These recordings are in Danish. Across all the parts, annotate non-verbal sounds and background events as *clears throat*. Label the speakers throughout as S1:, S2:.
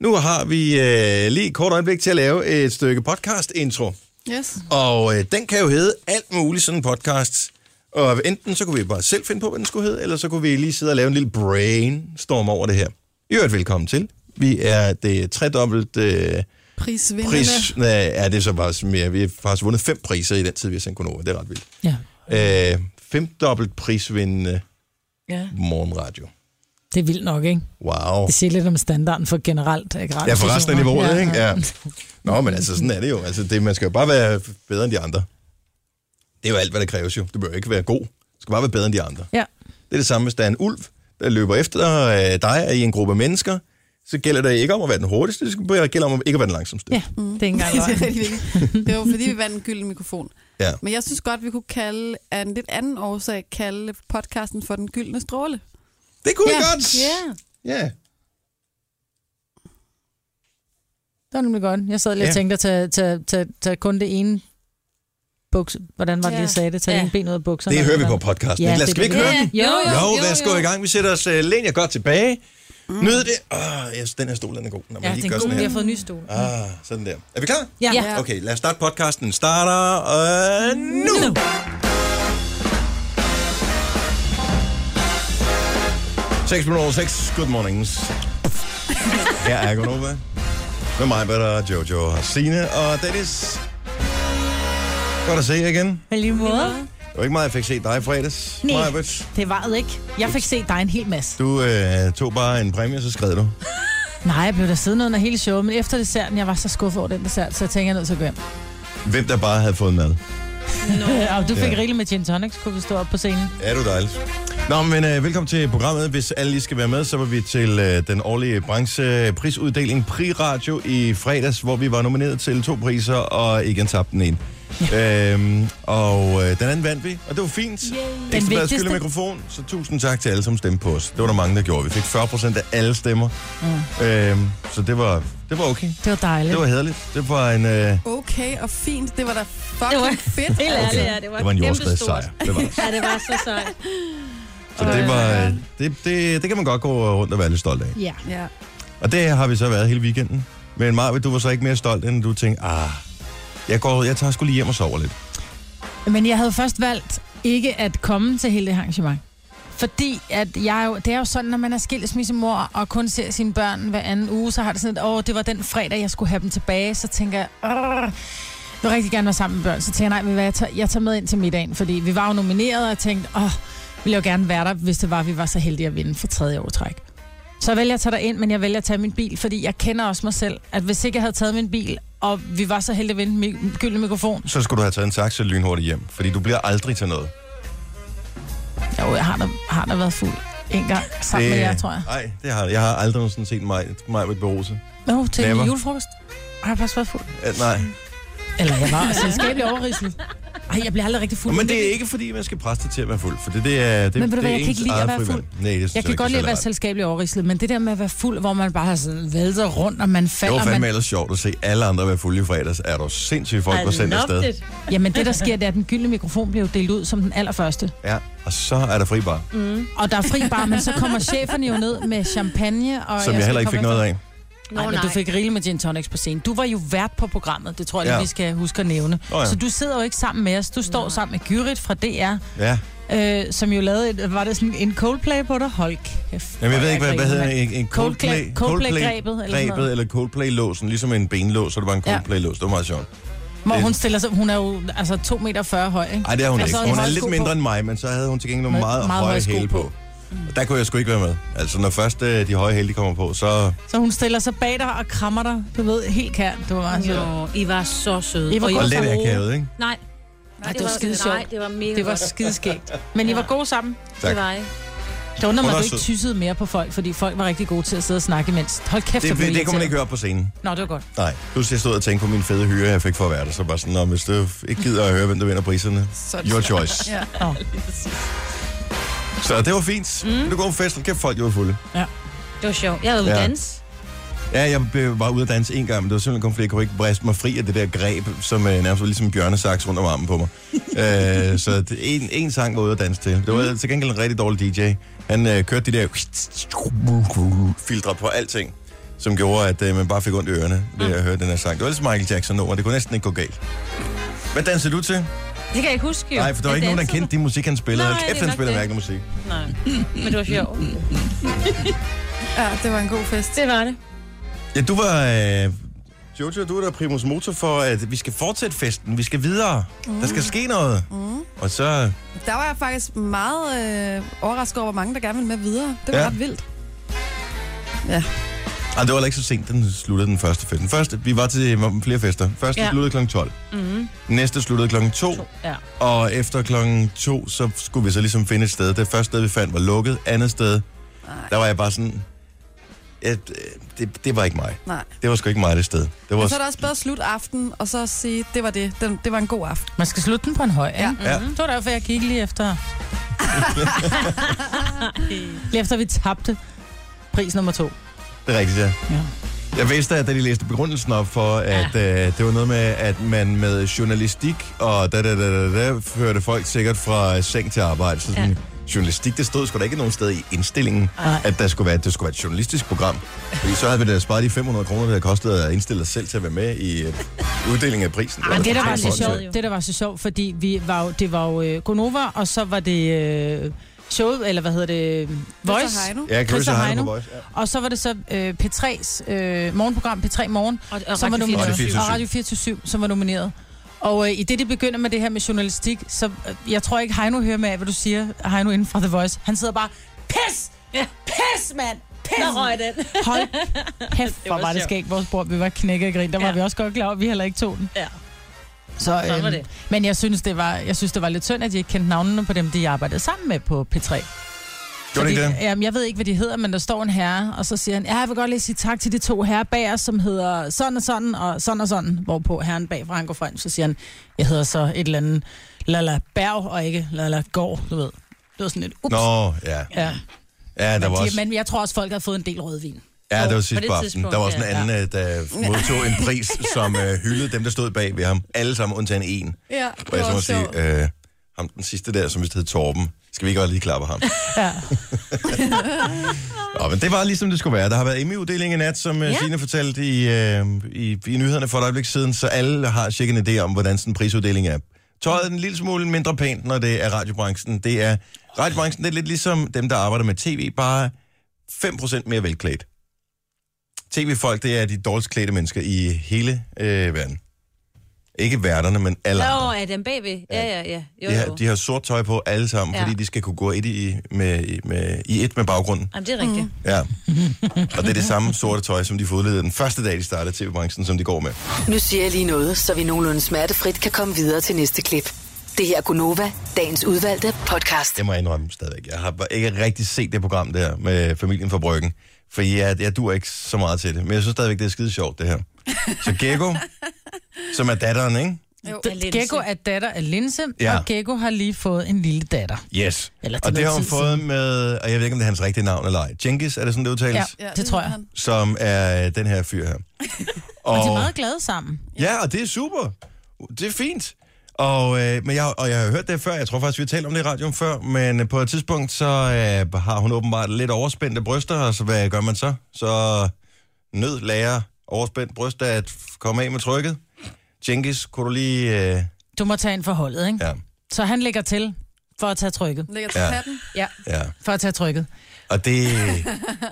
S1: Nu har vi øh, lige et kort øjeblik til at lave et stykke podcast-intro.
S2: Yes.
S1: Og øh, den kan jo hedde alt muligt sådan en podcast. Og enten så kunne vi bare selv finde på, hvad den skulle hedde, eller så kunne vi lige sidde og lave en lille brainstorm over det her. I øvrigt velkommen til. Vi er det tredobbelt øh,
S2: Prisvinderne. Pris.
S1: pris... Nej, ja, det er så bare mere. Vi har faktisk vundet fem priser i den tid, vi har sendt Gunova. Det er ret vildt.
S3: Ja.
S1: Øh, femdobbelt prisvindende
S2: Ja.
S1: morgenradio.
S3: Det er vildt nok, ikke?
S1: Wow.
S3: Det siger lidt om standarden for generelt.
S1: Ja, for resten af niveauet, ja, ikke?
S3: Ja.
S1: Ja. Nå, men altså, sådan er det jo. Altså, det, man skal jo bare være bedre end de andre. Det er jo alt, hvad der kræves jo. Du behøver ikke være god. Du skal bare være bedre end de andre.
S3: ja.
S1: Det er det samme, hvis der er en ulv, der løber efter øh, dig og i en gruppe mennesker. Så gælder det ikke om at være den hurtigste, det skal bare gælder om ikke at være den langsomste.
S3: ja. det er ikke engang
S2: det, er
S3: *laughs* løgn.
S2: rigtig vigtigt. det var fordi, vi vandt en gylden mikrofon.
S1: Ja.
S2: Men jeg synes godt, vi kunne kalde, af en lidt anden årsag, kalde podcasten for den gyldne stråle.
S1: Det kunne
S2: ja.
S1: vi godt!
S2: Ja.
S1: Ja.
S3: Det var nemlig godt. Jeg sad lige og
S1: Ja.
S3: tænkte at tage, tage, tage, tage kun det ene buks. Hvordan var det,
S2: Ja.
S3: jeg sagde det? Tage
S4: Ja.
S3: ja. en ben ud af bukserne.
S1: Det hører vi på podcasten.
S3: Ja,
S1: Ja, Lad
S3: det
S1: os
S3: er
S1: skal vi ikke
S3: det.
S1: høre
S4: Ja,
S1: den?
S4: jo, jo,
S1: jo,
S4: jo,
S1: lad os gå
S4: jo.
S1: i gang. Vi sætter os uh, læn godt tilbage. Mm. Nyd det. Oh, yes, den her stol, den er god. Når man
S3: Ja,
S1: lige
S3: det er
S1: gør
S3: en god,
S1: sådan
S3: vi
S1: her.
S3: har fået en ny stol.
S1: Ah, sådan der. Er vi klar?
S3: Ja.
S4: Ja.
S2: Ja.
S1: Okay, lad os starte podcasten. Starter øh, nu!
S3: Nu.
S1: Seks minutter over seks. Good mornings. Her er Gunova. Med mig, Britta, og Jojo og Signe og Dennis. Godt at se jer igen.
S3: Men lige måde.
S1: Det var ikke meget, jeg fik set dig i fredags.
S3: Nej.
S1: Maja Britt.
S3: Det varede ikke. Jeg fik set dig en hel masse.
S1: Du øh, tog bare en præmie, så skred du.
S3: Nej, jeg blev der siddende under hele showet, men efter desserten, jeg var så skuffet over den dessert, så jeg tænkte, jeg er nødt til at gå hjem.
S1: Hvem der bare havde fået mad.
S3: No. *laughs* og du fik
S1: Ja.
S3: ja. rigeligt med gin tonics, kunne vi stå op på scenen.
S1: Er du dejlig. Nå, men øh, velkommen til programmet. Hvis alle lige skal være med, så var vi til øh, den årlige brancheprisuddeling Pri Radio i fredags, hvor vi var nomineret til to priser og igen tabte den ene. Ja. Øhm, og øh, den anden vandt vi, og det var fint. Yay. Ekstra Bladet
S3: vigtigste.
S1: skylder mikrofon, så tusind tak til alle, som stemte på os. Det var der mange, der gjorde. Vi fik 40% af alle stemmer. Mm. Øhm, så det var, det var okay.
S3: Det var dejligt.
S1: Det var hederligt. Det var en... Øh,
S2: Okay og fint. Det var da
S4: Det
S2: fucking
S4: var-
S2: fedt.
S4: Helt ærligt, ja, det var,
S1: det var en
S4: kæmpestort.
S1: jordskredssejr. Det var det.
S4: Ja, det var så sejt.
S1: Så det, var, øh, det, det, det kan man godt gå rundt og være lidt stolt af.
S4: øh,
S3: Ja.
S2: Ja.
S1: Og det har vi så været hele weekenden. Men Marve, du var så ikke mere stolt, end du tænkte, ah, jeg, går, jeg tager sgu lige hjem og sover lidt.
S3: Men jeg havde først valgt ikke at komme til hele det her arrangement. Fordi at jeg jo, det er jo sådan, når man er skilsmissemor og kun ser sine børn hver anden uge, så har det sådan et, åh, det var den fredag, jeg skulle have dem tilbage. Så tænker jeg, "Arr, jeg vil rigtig gerne være sammen med børn. Så tænker jeg, nej, ved du hvad, jeg tager, jeg tager med ind til middagen. Fordi vi var jo nomineret, og jeg tænkte, åh, ville jeg jo gerne være der, hvis det var, vi var så heldige at vinde for tredje år i træk. Så jeg vælger at tage dig ind, men jeg vælger at tage min bil, fordi jeg kender også mig selv, at hvis ikke jeg havde taget min bil, og vi var så heldige at vinde den mi- gyldne mikrofon,
S1: Så skulle du have taget en taxa lynhurtigt hjem, fordi du bliver aldrig til noget.
S3: Jo, jeg har da, har da været fuld en gang sammen med jer, tror jeg.
S1: Nej, det har jeg. har aldrig nogensinde set mig, mig med berose.
S3: Nå, til
S1: Never.
S3: Never. julefrokost. Har jeg faktisk været fuld?
S1: Uh, nej.
S3: Eller
S1: *laughs*
S3: jeg var selskabelig overrislet. Ej, jeg bliver aldrig rigtig fuld.
S1: Men det er ikke, fordi man skal presse det til at være fuld, for det, det er det,
S3: Men ved du
S1: det
S3: hvad,
S1: er
S3: jeg kan
S1: ens
S3: ikke lide at
S1: eget
S3: være
S1: frivalg.
S3: fuld.
S1: Nej, det synes
S3: Jeg kan
S1: ikke
S3: godt
S1: er
S3: lide at være
S1: særlig
S3: selskabelig overrislet, men det der med at være fuld, hvor man bare har sådan vælter rundt, og man
S1: rart. Det
S3: falder...
S1: var
S3: man...
S1: fandme ellers sjovt at se alle andre være fulde i fredags. Er du sindssygt folk var sendt afsted?
S4: it.
S3: Jamen det, der sker, det er, at den gyldne mikrofon bliver jo delt ud som den allerførste.
S1: Ja, og så er der fri bar,
S4: Mm.
S3: Og der er fri bar, men så kommer cheferne jo ned med champagne. Og
S1: som jeg
S3: skal
S1: heller ikke
S3: komme
S1: fik noget
S3: efter-
S1: af.
S4: Nå,
S3: Nej, men du fik rigeligt med gin tonics på scenen. Du var jo vært på programmet, det tror jeg lige,
S1: Ja.
S3: ja. vi skal huske at nævne.
S1: Nå ja.
S3: Så du sidder jo ikke sammen med os. Du står Nej. sammen med Gyrit fra DR,
S1: Ja.
S3: øh, som jo lavede, et, var det sådan en Coldplay på dig? Hold kæft.
S1: Jamen, jeg ved ikke, hvad,
S3: grinede,
S1: hvad hedder
S3: mand.
S1: en, en
S3: Coldplay-
S1: Coldplay,
S3: Coldplay-grebet, eller sådan
S1: grebet,
S3: noget.
S1: eller Coldplay-låsen, ligesom en benlås, så det var en
S3: Ja.
S1: Coldplay-lås. Det var meget sjovt.
S3: Hvor hun stiller sig, hun er jo altså 2,40 meter høj, ikke?
S1: Nej, det er hun ikke.
S3: Altså, havde
S1: Hun er
S3: høje
S1: lidt
S3: sko
S1: mindre
S3: på.
S1: end mig, men så havde hun til gengæld nogle
S3: Med
S1: meget, meget høje hæle på. Og der kunne jeg sgu ikke være med. Altså, når først øh, de høje hæle de kommer på, så...
S3: Så hun stiller sig bag dig og krammer dig, du ved, helt kært. Det var meget
S4: Jo,
S3: sjovt.
S4: I var så søde.
S3: I var
S4: I
S3: gode.
S1: Og
S3: var
S1: lidt
S4: så gode.
S1: akavet, ikke?
S4: Nej,
S3: Nej, det var skide
S4: Nej,
S3: sjovt.
S4: det var mega
S3: Det var
S4: godt.
S3: skideskægt. Men I var gode sammen.
S1: Tak.
S4: Det var I.
S3: Det undrer mig,
S1: Hun
S3: at
S1: er
S3: du ikke
S1: sød.
S3: tyssede mere på folk, fordi folk var rigtig gode til at sidde og snakke imens. Hold kæft,
S1: Det,
S3: hvor blev
S1: det,
S3: I
S1: det kunne man ikke
S3: irriteret.
S1: høre på scenen.
S3: Nå, det var godt.
S1: Nej. Pludselig jeg stod og tænkte på min fede hyre, jeg fik for at være der. Så bare sådan, "Nå, hvis du ikke gider at høre, hvem der vinder priserne.
S2: Sådan.
S1: Your choice.
S2: Ja.
S3: Nå.
S1: Så det var fint. Mm. Du går på festen. Kæft, folk, de var fulde.
S4: Det var sjovt. Jeg var ude
S1: Ja.
S4: ja. dans.
S1: Ja, jeg blev bare ude at danse en gang, men det var simpelthen kun, fordi jeg kunne ikke briste mig fri af det der greb, som øh, nærmest var ligesom en bjørnesaks rundt om armen på mig. øh, så det, en, en sang var ude at danse til. Det var til gengæld en rigtig dårlig DJ. Han øh, kørte de der filtre på alting. som gjorde, at øh, man bare fik ondt i ørerne, ved at høre den her sang. Det var ellers Michael Jackson nummer, det kunne næsten ikke gå galt. Hvad danser du til?
S4: Det kan jeg ikke huske jo.
S1: Nej, for der var
S4: Jeg
S1: ikke nogen, der
S4: dansede.
S1: kendte de musik, han spillede.
S4: Nej,
S1: Nej,
S4: det
S1: Kæft,
S4: er
S1: han
S4: nok
S1: spiller
S4: det.
S1: mærkelig musik.
S4: Nej, men det var
S1: *laughs*
S4: sjovt.
S2: Ja, det var en god fest.
S4: Det var det.
S1: Ja, du var... Øh, Jojo, du er der primus motor for, at vi skal fortsætte festen. Vi skal videre. Mm. Der skal ske noget.
S2: Mm.
S1: Og så...
S2: Der var jeg faktisk meget øh, overrasket over, hvor mange der gerne ville med videre. Det var
S1: Ja.
S2: ja. ret vildt.
S1: Ej, det var heller ikke så sent, den sluttede den første fest. Den første, vi var til øh, flere fester. Første ja.
S4: Ja.
S1: sluttede kl. 12.
S4: Mm-hmm.
S1: Næste sluttede kl. 2.
S4: To. Ja.
S1: Og efter klokken to, så skulle vi så ligesom finde et sted. Det første sted, vi fandt, var lukket. Andet sted,
S2: Nej,
S1: der var jeg bare sådan... At, øh, det, det var ikke mig.
S2: nej.
S1: Det var sgu ikke mig, det sted. Det var,
S2: Men så er det også bedre at slutte aften, og så sige, det var det. Den, det var en god aften.
S3: Man skal slutte den på en høj,
S2: Ja.
S3: ja.
S1: Ja.
S4: Mm-hmm.
S3: Det var derfor, jeg gik lige efter... lige efter vi tabte pris nummer to.
S1: det er rigtigt, ja.
S3: Ja.
S1: Jeg vidste, at da de læste begrundelsen op for, at ja. øh, det var noget med, at man med journalistik og da, da, da, da, da førte folk sikkert fra seng til arbejde. Så sådan, ja. journalistik, det stod sgu da ikke nogen sted i indstillingen,
S3: Nej.
S1: at der skulle være, det skulle være et journalistisk program. Fordi så havde vi da sparet de 500 kroner, det havde kostet at indstille os selv til at være med i øh, uddelingen af prisen.
S3: Men det, der
S1: da
S3: var så
S1: fucking
S4: sjovt,
S1: åndssvagt.
S3: sjovt, det, der var så sjovt, fordi vi var, jo- det var jo øh, Gonova, og så var det øh, showet, eller hvad hedder det, øh, Voice.
S2: Heino.
S1: Ja, Chris
S3: Chris og
S1: og Heino
S3: Heino.
S1: på Voice. Ja.
S3: Og så var det så øh, P3's øh, morgenprogram, P3 Morgen,
S4: Og, og
S3: som var
S4: Radio
S3: nomineret.
S1: 24syv.
S3: Og Radio 24 som var nomineret. Og øh, i det, de begynder med det her med journalistik, så øh, jeg tror ikke, Heino hører med af, hvad du siger, Heino inden fra The Voice. Han sidder bare, pis!
S4: Ja.
S3: Pis, mand! Pis!
S4: Der røg den.
S3: *laughs* Hold kæft,
S4: *laughs* Det
S3: hvor
S4: var
S3: var det
S4: sjovt.
S3: skægt, vores bror. Vi var knækket af grin. Der var
S4: Ja.
S3: vi også godt klar over, at vi heller ikke tog den.
S4: Ja.
S3: Så,
S4: Sådan var
S3: øhm,
S4: det.
S3: Men jeg synes, det var, jeg synes, det var lidt synd, at de ikke kendte navnene på dem, de arbejdede sammen med på P3.
S1: Gjorde det ikke det?
S3: Jamen, jeg ved ikke, hvad de hedder, men der står en herre, og så siger han, ja, jeg vil godt lige sige tak til de to herrer bag os, som hedder sådan og sådan, og sådan og sådan, hvorpå herren bagfra, han går frem, så siger han, jeg hedder så et eller andet Lala Berg, og ikke Lala Gård, du ved. Det var sådan lidt, øh, ups.
S1: Nå, ja.
S3: Ja,
S1: Ja, der
S3: men,
S1: var
S3: de,
S1: også...
S3: men jeg tror også, folk har fået en del rødvin.
S1: Ja, det var
S4: På
S1: sidst
S4: det
S1: på aftenen.
S4: tidspunkt,
S1: Der var også en
S4: ja.
S1: anden, øh, der modtog en
S4: *laughs*
S1: pris, som øh, hyldede dem, der stod bag ved ham. Alle sammen undtagen en.
S2: Ja,
S1: Hvor jeg så
S2: det var
S1: må
S2: også sjovt.
S1: sige, øh, ham den sidste der, som vist hed Torben. Skal vi ikke også lige klappe ham?
S3: Ja.
S1: Nå, men det var ligesom det skulle være. Der har været Emmy-uddeling i nat, som ja.
S4: Ja.
S1: Signe fortalte i, øh, i, i nyhederne for et øjeblik siden, så alle har cirka en idé om, hvordan sådan en prisuddeling er. Tøjet er en lille smule mindre pænt, når det er radiobranchen. Det er, radiobranchen det er lidt ligesom dem, der arbejder med tv, bare 5% mere velklædt. TV-folk, det er de dårligst klædte mennesker i hele øh, verden. Ikke værterne, men alle andre.
S4: Nå, er den bagved? Ja, ja, ja. Jo,
S1: De har,
S4: jo.
S1: de har sort tøj på alle sammen, ja.
S4: Ja.
S1: fordi de skal kunne gå et i, med, i- med, i et med baggrunden.
S4: Jamen, det er rigtigt.
S1: Ja. Og det er det samme sorte tøj, som de fodlede den første dag, de startede tv-branchen, som de går med.
S5: Nu siger jeg lige noget, så vi nogenlunde smertefrit kan komme videre til næste klip. Det her er Gunova, dagens udvalgte podcast.
S1: Det må jeg indrømme stadigvæk. Jeg har bare ikke rigtig set det program der med familien fra Bryggen. For jeg, jeg dur ikke så meget til det. Men jeg synes stadigvæk, det er skide sjovt, det her. Så Gekko, som er datteren, ikke?
S2: Jo.
S4: Af linse.
S3: Gekko er datter af Linse,
S1: Ja.
S3: ja. og Gekko har lige fået en lille datter.
S1: Yes.
S3: Eller til
S1: Og det
S3: noget
S1: har hun
S3: tid
S1: fået med, og jeg ved ikke, om det er hans rigtige navn eller ej. Jenkins, er det sådan, det udtales?
S3: Ja,
S2: Ja,
S3: det tror
S2: ved
S3: jeg.
S2: han.
S1: Som er den her fyr her.
S3: *laughs* Og de er meget glade sammen.
S1: Ja, og det er super. Det er fint. Og, øh, men jeg, og jeg har hørt det før, jeg tror faktisk, vi har talt om det i radioen før, men øh, på et tidspunkt, så øh, har hun åbenbart lidt overspændte bryster, og så hvad gør man så? Så nød lærer overspændt bryst at f- komme af med trykket. Jenkins, kunne du lige... Øh,
S3: Du må tage ind for holdet, ikke?
S1: ja,
S3: Så han lægger til for at tage trykket.
S2: Lægger til
S1: Ja.
S2: hatten.
S3: Ja.
S1: ja.
S3: For at tage trykket.
S1: Og det...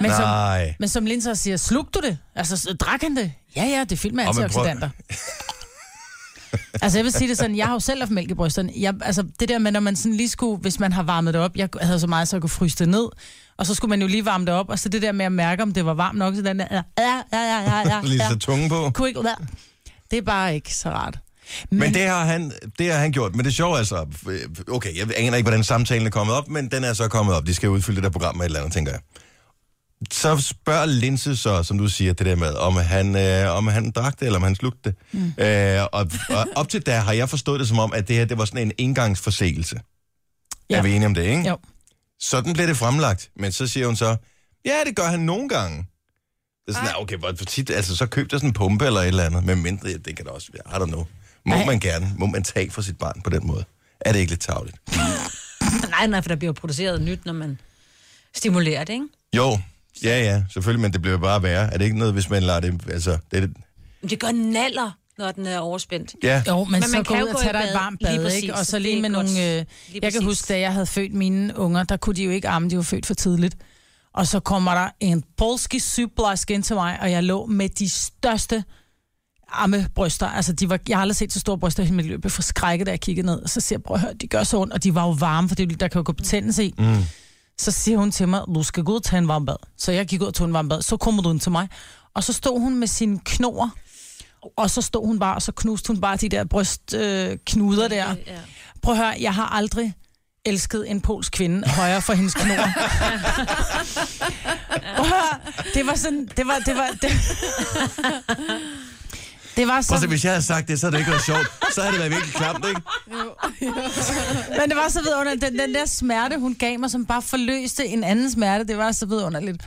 S3: Men som,
S1: nej.
S3: men som Linser siger, slugte du det? Altså, s- drak han det? Ja, ja, det er fyldt med
S1: Og man prøver- *laughs*
S3: antioxidanter. altså, jeg vil sige det sådan, jeg har jo selv haft mælk i brysterne. Jeg, altså, det der med, når man sådan lige skulle, hvis man har varmet det op, jeg havde så meget, så jeg kunne fryse det ned, og så skulle man jo lige varme det op, og så det der med at mærke, om det var varmt nok, så den der, ja, ja, ja, ja, ja, ja,
S1: *laughs* Lige
S3: ja,
S1: så tunge på.
S3: kunne ikke, ja. det er bare ikke så rart.
S1: Men det har, han, det har han gjort. Men det sjove er så... øh, Okay, jeg aner ikke, hvordan samtalen er kommet op, men den er så kommet op. De skal udfylde det der program med et eller andet, tænker jeg. Så spørger Linse så, som du siger, det der med, om han, øh, om han drak det, eller om han slugte det. Mm. Øh, og, og op til da har jeg forstået det som om, at det her det var sådan en engangsforseelse. Ja.
S3: Ja.
S1: Er vi enige om det, ikke?
S3: Jo.
S1: Sådan blev det fremlagt. Men så siger hun så, ja, det gør han nogle gange. Det er sådan, "Ah, okay, hvor for tit, altså så køb der sådan en pumpe eller et eller andet, men mindre, ja, det kan der også være, I don't know. Må
S3: Ej.
S1: man gerne, må man tage fra sit barn på den måde? Er det ikke lidt tavligt?
S4: Nej, nej, for der bliver jo produceret nyt, når man stimulerer det, ikke?
S1: Jo, Ja, ja, selvfølgelig, men det bliver bare værre. Er det ikke noget, hvis man lader det... Altså, det, er-
S4: Men det gør naller, når den er overspændt.
S1: ja,
S3: Jo, men, men
S4: man
S3: så
S4: kan
S3: gå
S4: jo
S3: ud og
S4: gå i
S3: tage dig et
S4: bad.
S3: varmt
S4: Lige
S3: bad,
S4: præcis,
S3: ikke? Og så
S4: det
S3: lige
S4: er
S3: med
S4: godt.
S3: nogle... Øh,
S4: Lige
S3: jeg kan
S4: præcis.
S3: huske, da jeg havde født mine unger, der kunne de jo ikke amme, de var født for tidligt. Og så kommer der en polski sygeplejerske ind til mig, og jeg lå med de største ammebryster. Altså, de var, jeg har aldrig set så store bryster i mit liv. Jeg blev forskrækket, da jeg kiggede ned. Og så siger jeg, prøv at høre, de gør så ondt, og de var jo varme, for det, der kan jo gå betændelse i. Mm. Så siger hun til mig, du skal gå ud og tage en varm bad. Så jeg gik ud og tog en varm bad. Så kommer du ind til mig. Og så stod hun med sine knoer, og så stod hun bare, og så knuste hun bare de der brystknuder øh, knuder der.
S4: Ja.
S3: Prøv at høre, jeg har aldrig elsket en polsk kvinde højere for hendes
S4: *laughs*
S3: knor. Prøv at høre, det var sådan, det var, det var, det, det var
S1: Prøv at
S3: så,
S1: se, hvis jeg havde sagt det, så havde det ikke været sjovt. Så havde det været virkelig klamt, ikke?
S3: men det var så vidunderligt. Den, den der smerte, hun gav mig, som bare forløste en anden smerte, det var så vidunderligt.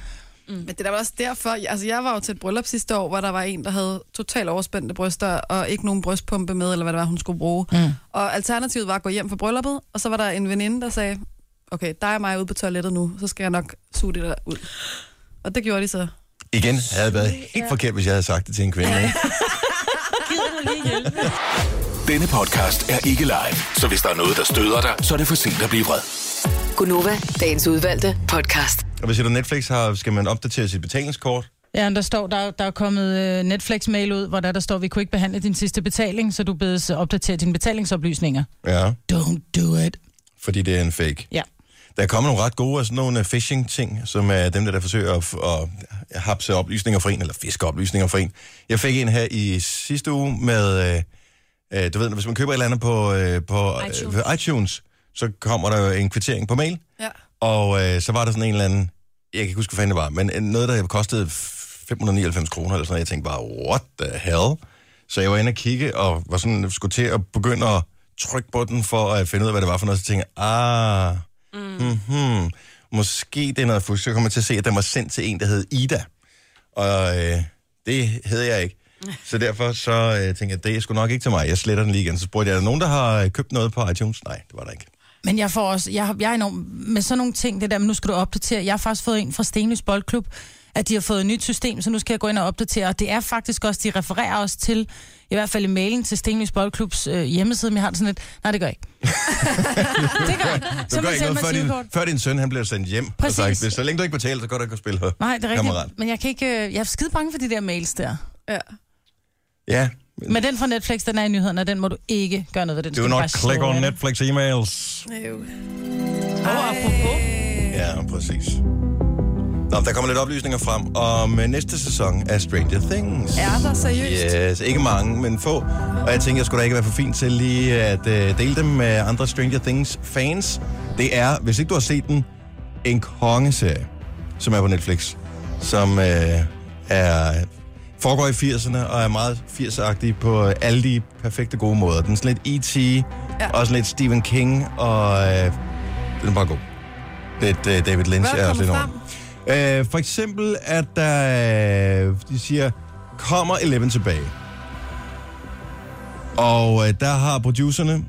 S2: Men det er da også derfor, altså jeg var jo til et bryllup sidste år, hvor der var en, der havde totalt overspændte bryster, og ikke nogen brystpumpe med, eller hvad det var, hun skulle bruge. Mm. Og alternativet var at gå hjem fra brylluppet, og så var der en veninde, der sagde, okay, dig og mig ude på toilettet nu, så skal jeg nok suge det der ud. Og det gjorde de så.
S1: Igen havde det været helt forkert, hvis jeg havde sagt det til en kvinde, ikke?
S4: Gider du lige hjælpe?
S6: Denne podcast er ikke live, så hvis der er noget, der støder dig, så er det for sent at blive vred.
S5: Gunova, dagens udvalgte podcast.
S1: Og hvis du Netflix har, skal man opdatere sit betalingskort.
S3: Ja, men der står, der, der er kommet øh, Netflix-mail ud, hvor der, der står, vi kunne ikke behandle din sidste betaling, så du bedes opdatere dine betalingsoplysninger.
S1: Ja,
S3: Don't do it.
S1: fordi det er en fake.
S3: Ja.
S1: Der er kommet nogle ret gode af sådan nogle øh, phishing-ting, som er dem, der, der forsøger at, f- at hapse oplysninger for en, eller fiske oplysninger for en. Jeg fik en her i sidste uge med, øh, øh, du ved, hvis man køber et eller andet på, øh, på iTunes. Øh, iTunes, så kommer der jo en kvittering på mail,
S2: Ja.
S1: og øh, så var der sådan en eller anden, jeg kan ikke huske, hvad fanden det var, men øh, noget, der kostede 599 kroner eller sådan noget. Jeg tænkte bare, what the hell? Så jeg var inde og kigge, og var sådan, skulle til at begynde at trykke på den for at finde ud af, hvad det var for noget. Så tænkte jeg, ah, mm-hmm, måske det er noget fusk. Så kom jeg til at se, at den var sendt til en, der hed Ida. Og øh, det hed jeg ikke. Så derfor så øh, tænkte jeg, det er sgu nok ikke til mig. Jeg sletter den lige igen. Så spurgte jeg, er der nogen, der har øh, købt noget på iTunes? Nej, det var der ikke.
S3: Men jeg får også, jeg, jeg er enormt, med sådan nogle ting, det der, men nu skal du opdatere. Jeg har faktisk fået en fra Stenløs Boldklub, at de har fået et nyt system, så nu skal jeg gå ind og opdatere. Og det er faktisk også, de refererer også til, i hvert fald i mailen til Stenløs Boldklubs øh, hjemmeside, men jeg har det sådan lidt, nej, det gør jeg
S1: *laughs*
S3: ikke. det gør jeg ikke.
S1: Du
S3: Så
S1: gør
S3: må
S1: ikke
S3: jeg
S1: noget, før
S3: mig
S1: din,
S3: kort.
S1: før din søn han bliver sendt hjem.
S3: Præcis.
S1: Og sagt, "Hvis- så længe du ikke betaler, så går du ikke at spille her.
S3: Nej, det er rigtigt.
S1: Kammerat.
S3: Men jeg, kan ikke, øh, jeg er skide bange for de der mails der.
S2: ja.
S1: Ja,
S3: Men den fra Netflix, den er i nyhederne, og den må du ikke gøre noget ved. Den
S1: do
S3: du
S1: not
S3: bare slå
S1: click on
S3: af.
S1: Netflix emails.
S2: Øv.
S4: Og apropos,
S1: Ja, præcis. Nå, der kommer lidt oplysninger frem om øh, næste sæson af Stranger Things.
S2: Er der seriøst?
S1: Yes, ikke mange, men få. Og jeg tænker, jeg skulle da ikke være for fin til lige at øh, dele dem med andre Stranger Things fans. Det er, hvis ikke du har set den, en kongeserie, som er på Netflix, som øh, er, foregår i 80'erne og er meget 80'er på øh, alle de perfekte gode måder. Den er sådan lidt E.T., ja. og sådan lidt Stephen King, og øh, den er bare god. Lidt øh, David Lynch
S2: Hvad er
S1: er
S2: der
S1: også lidt
S2: kommet
S1: over.
S2: frem?
S1: Øh, for eksempel, at der, øh, de siger, kommer Eleven tilbage. Og øh, der har producerne,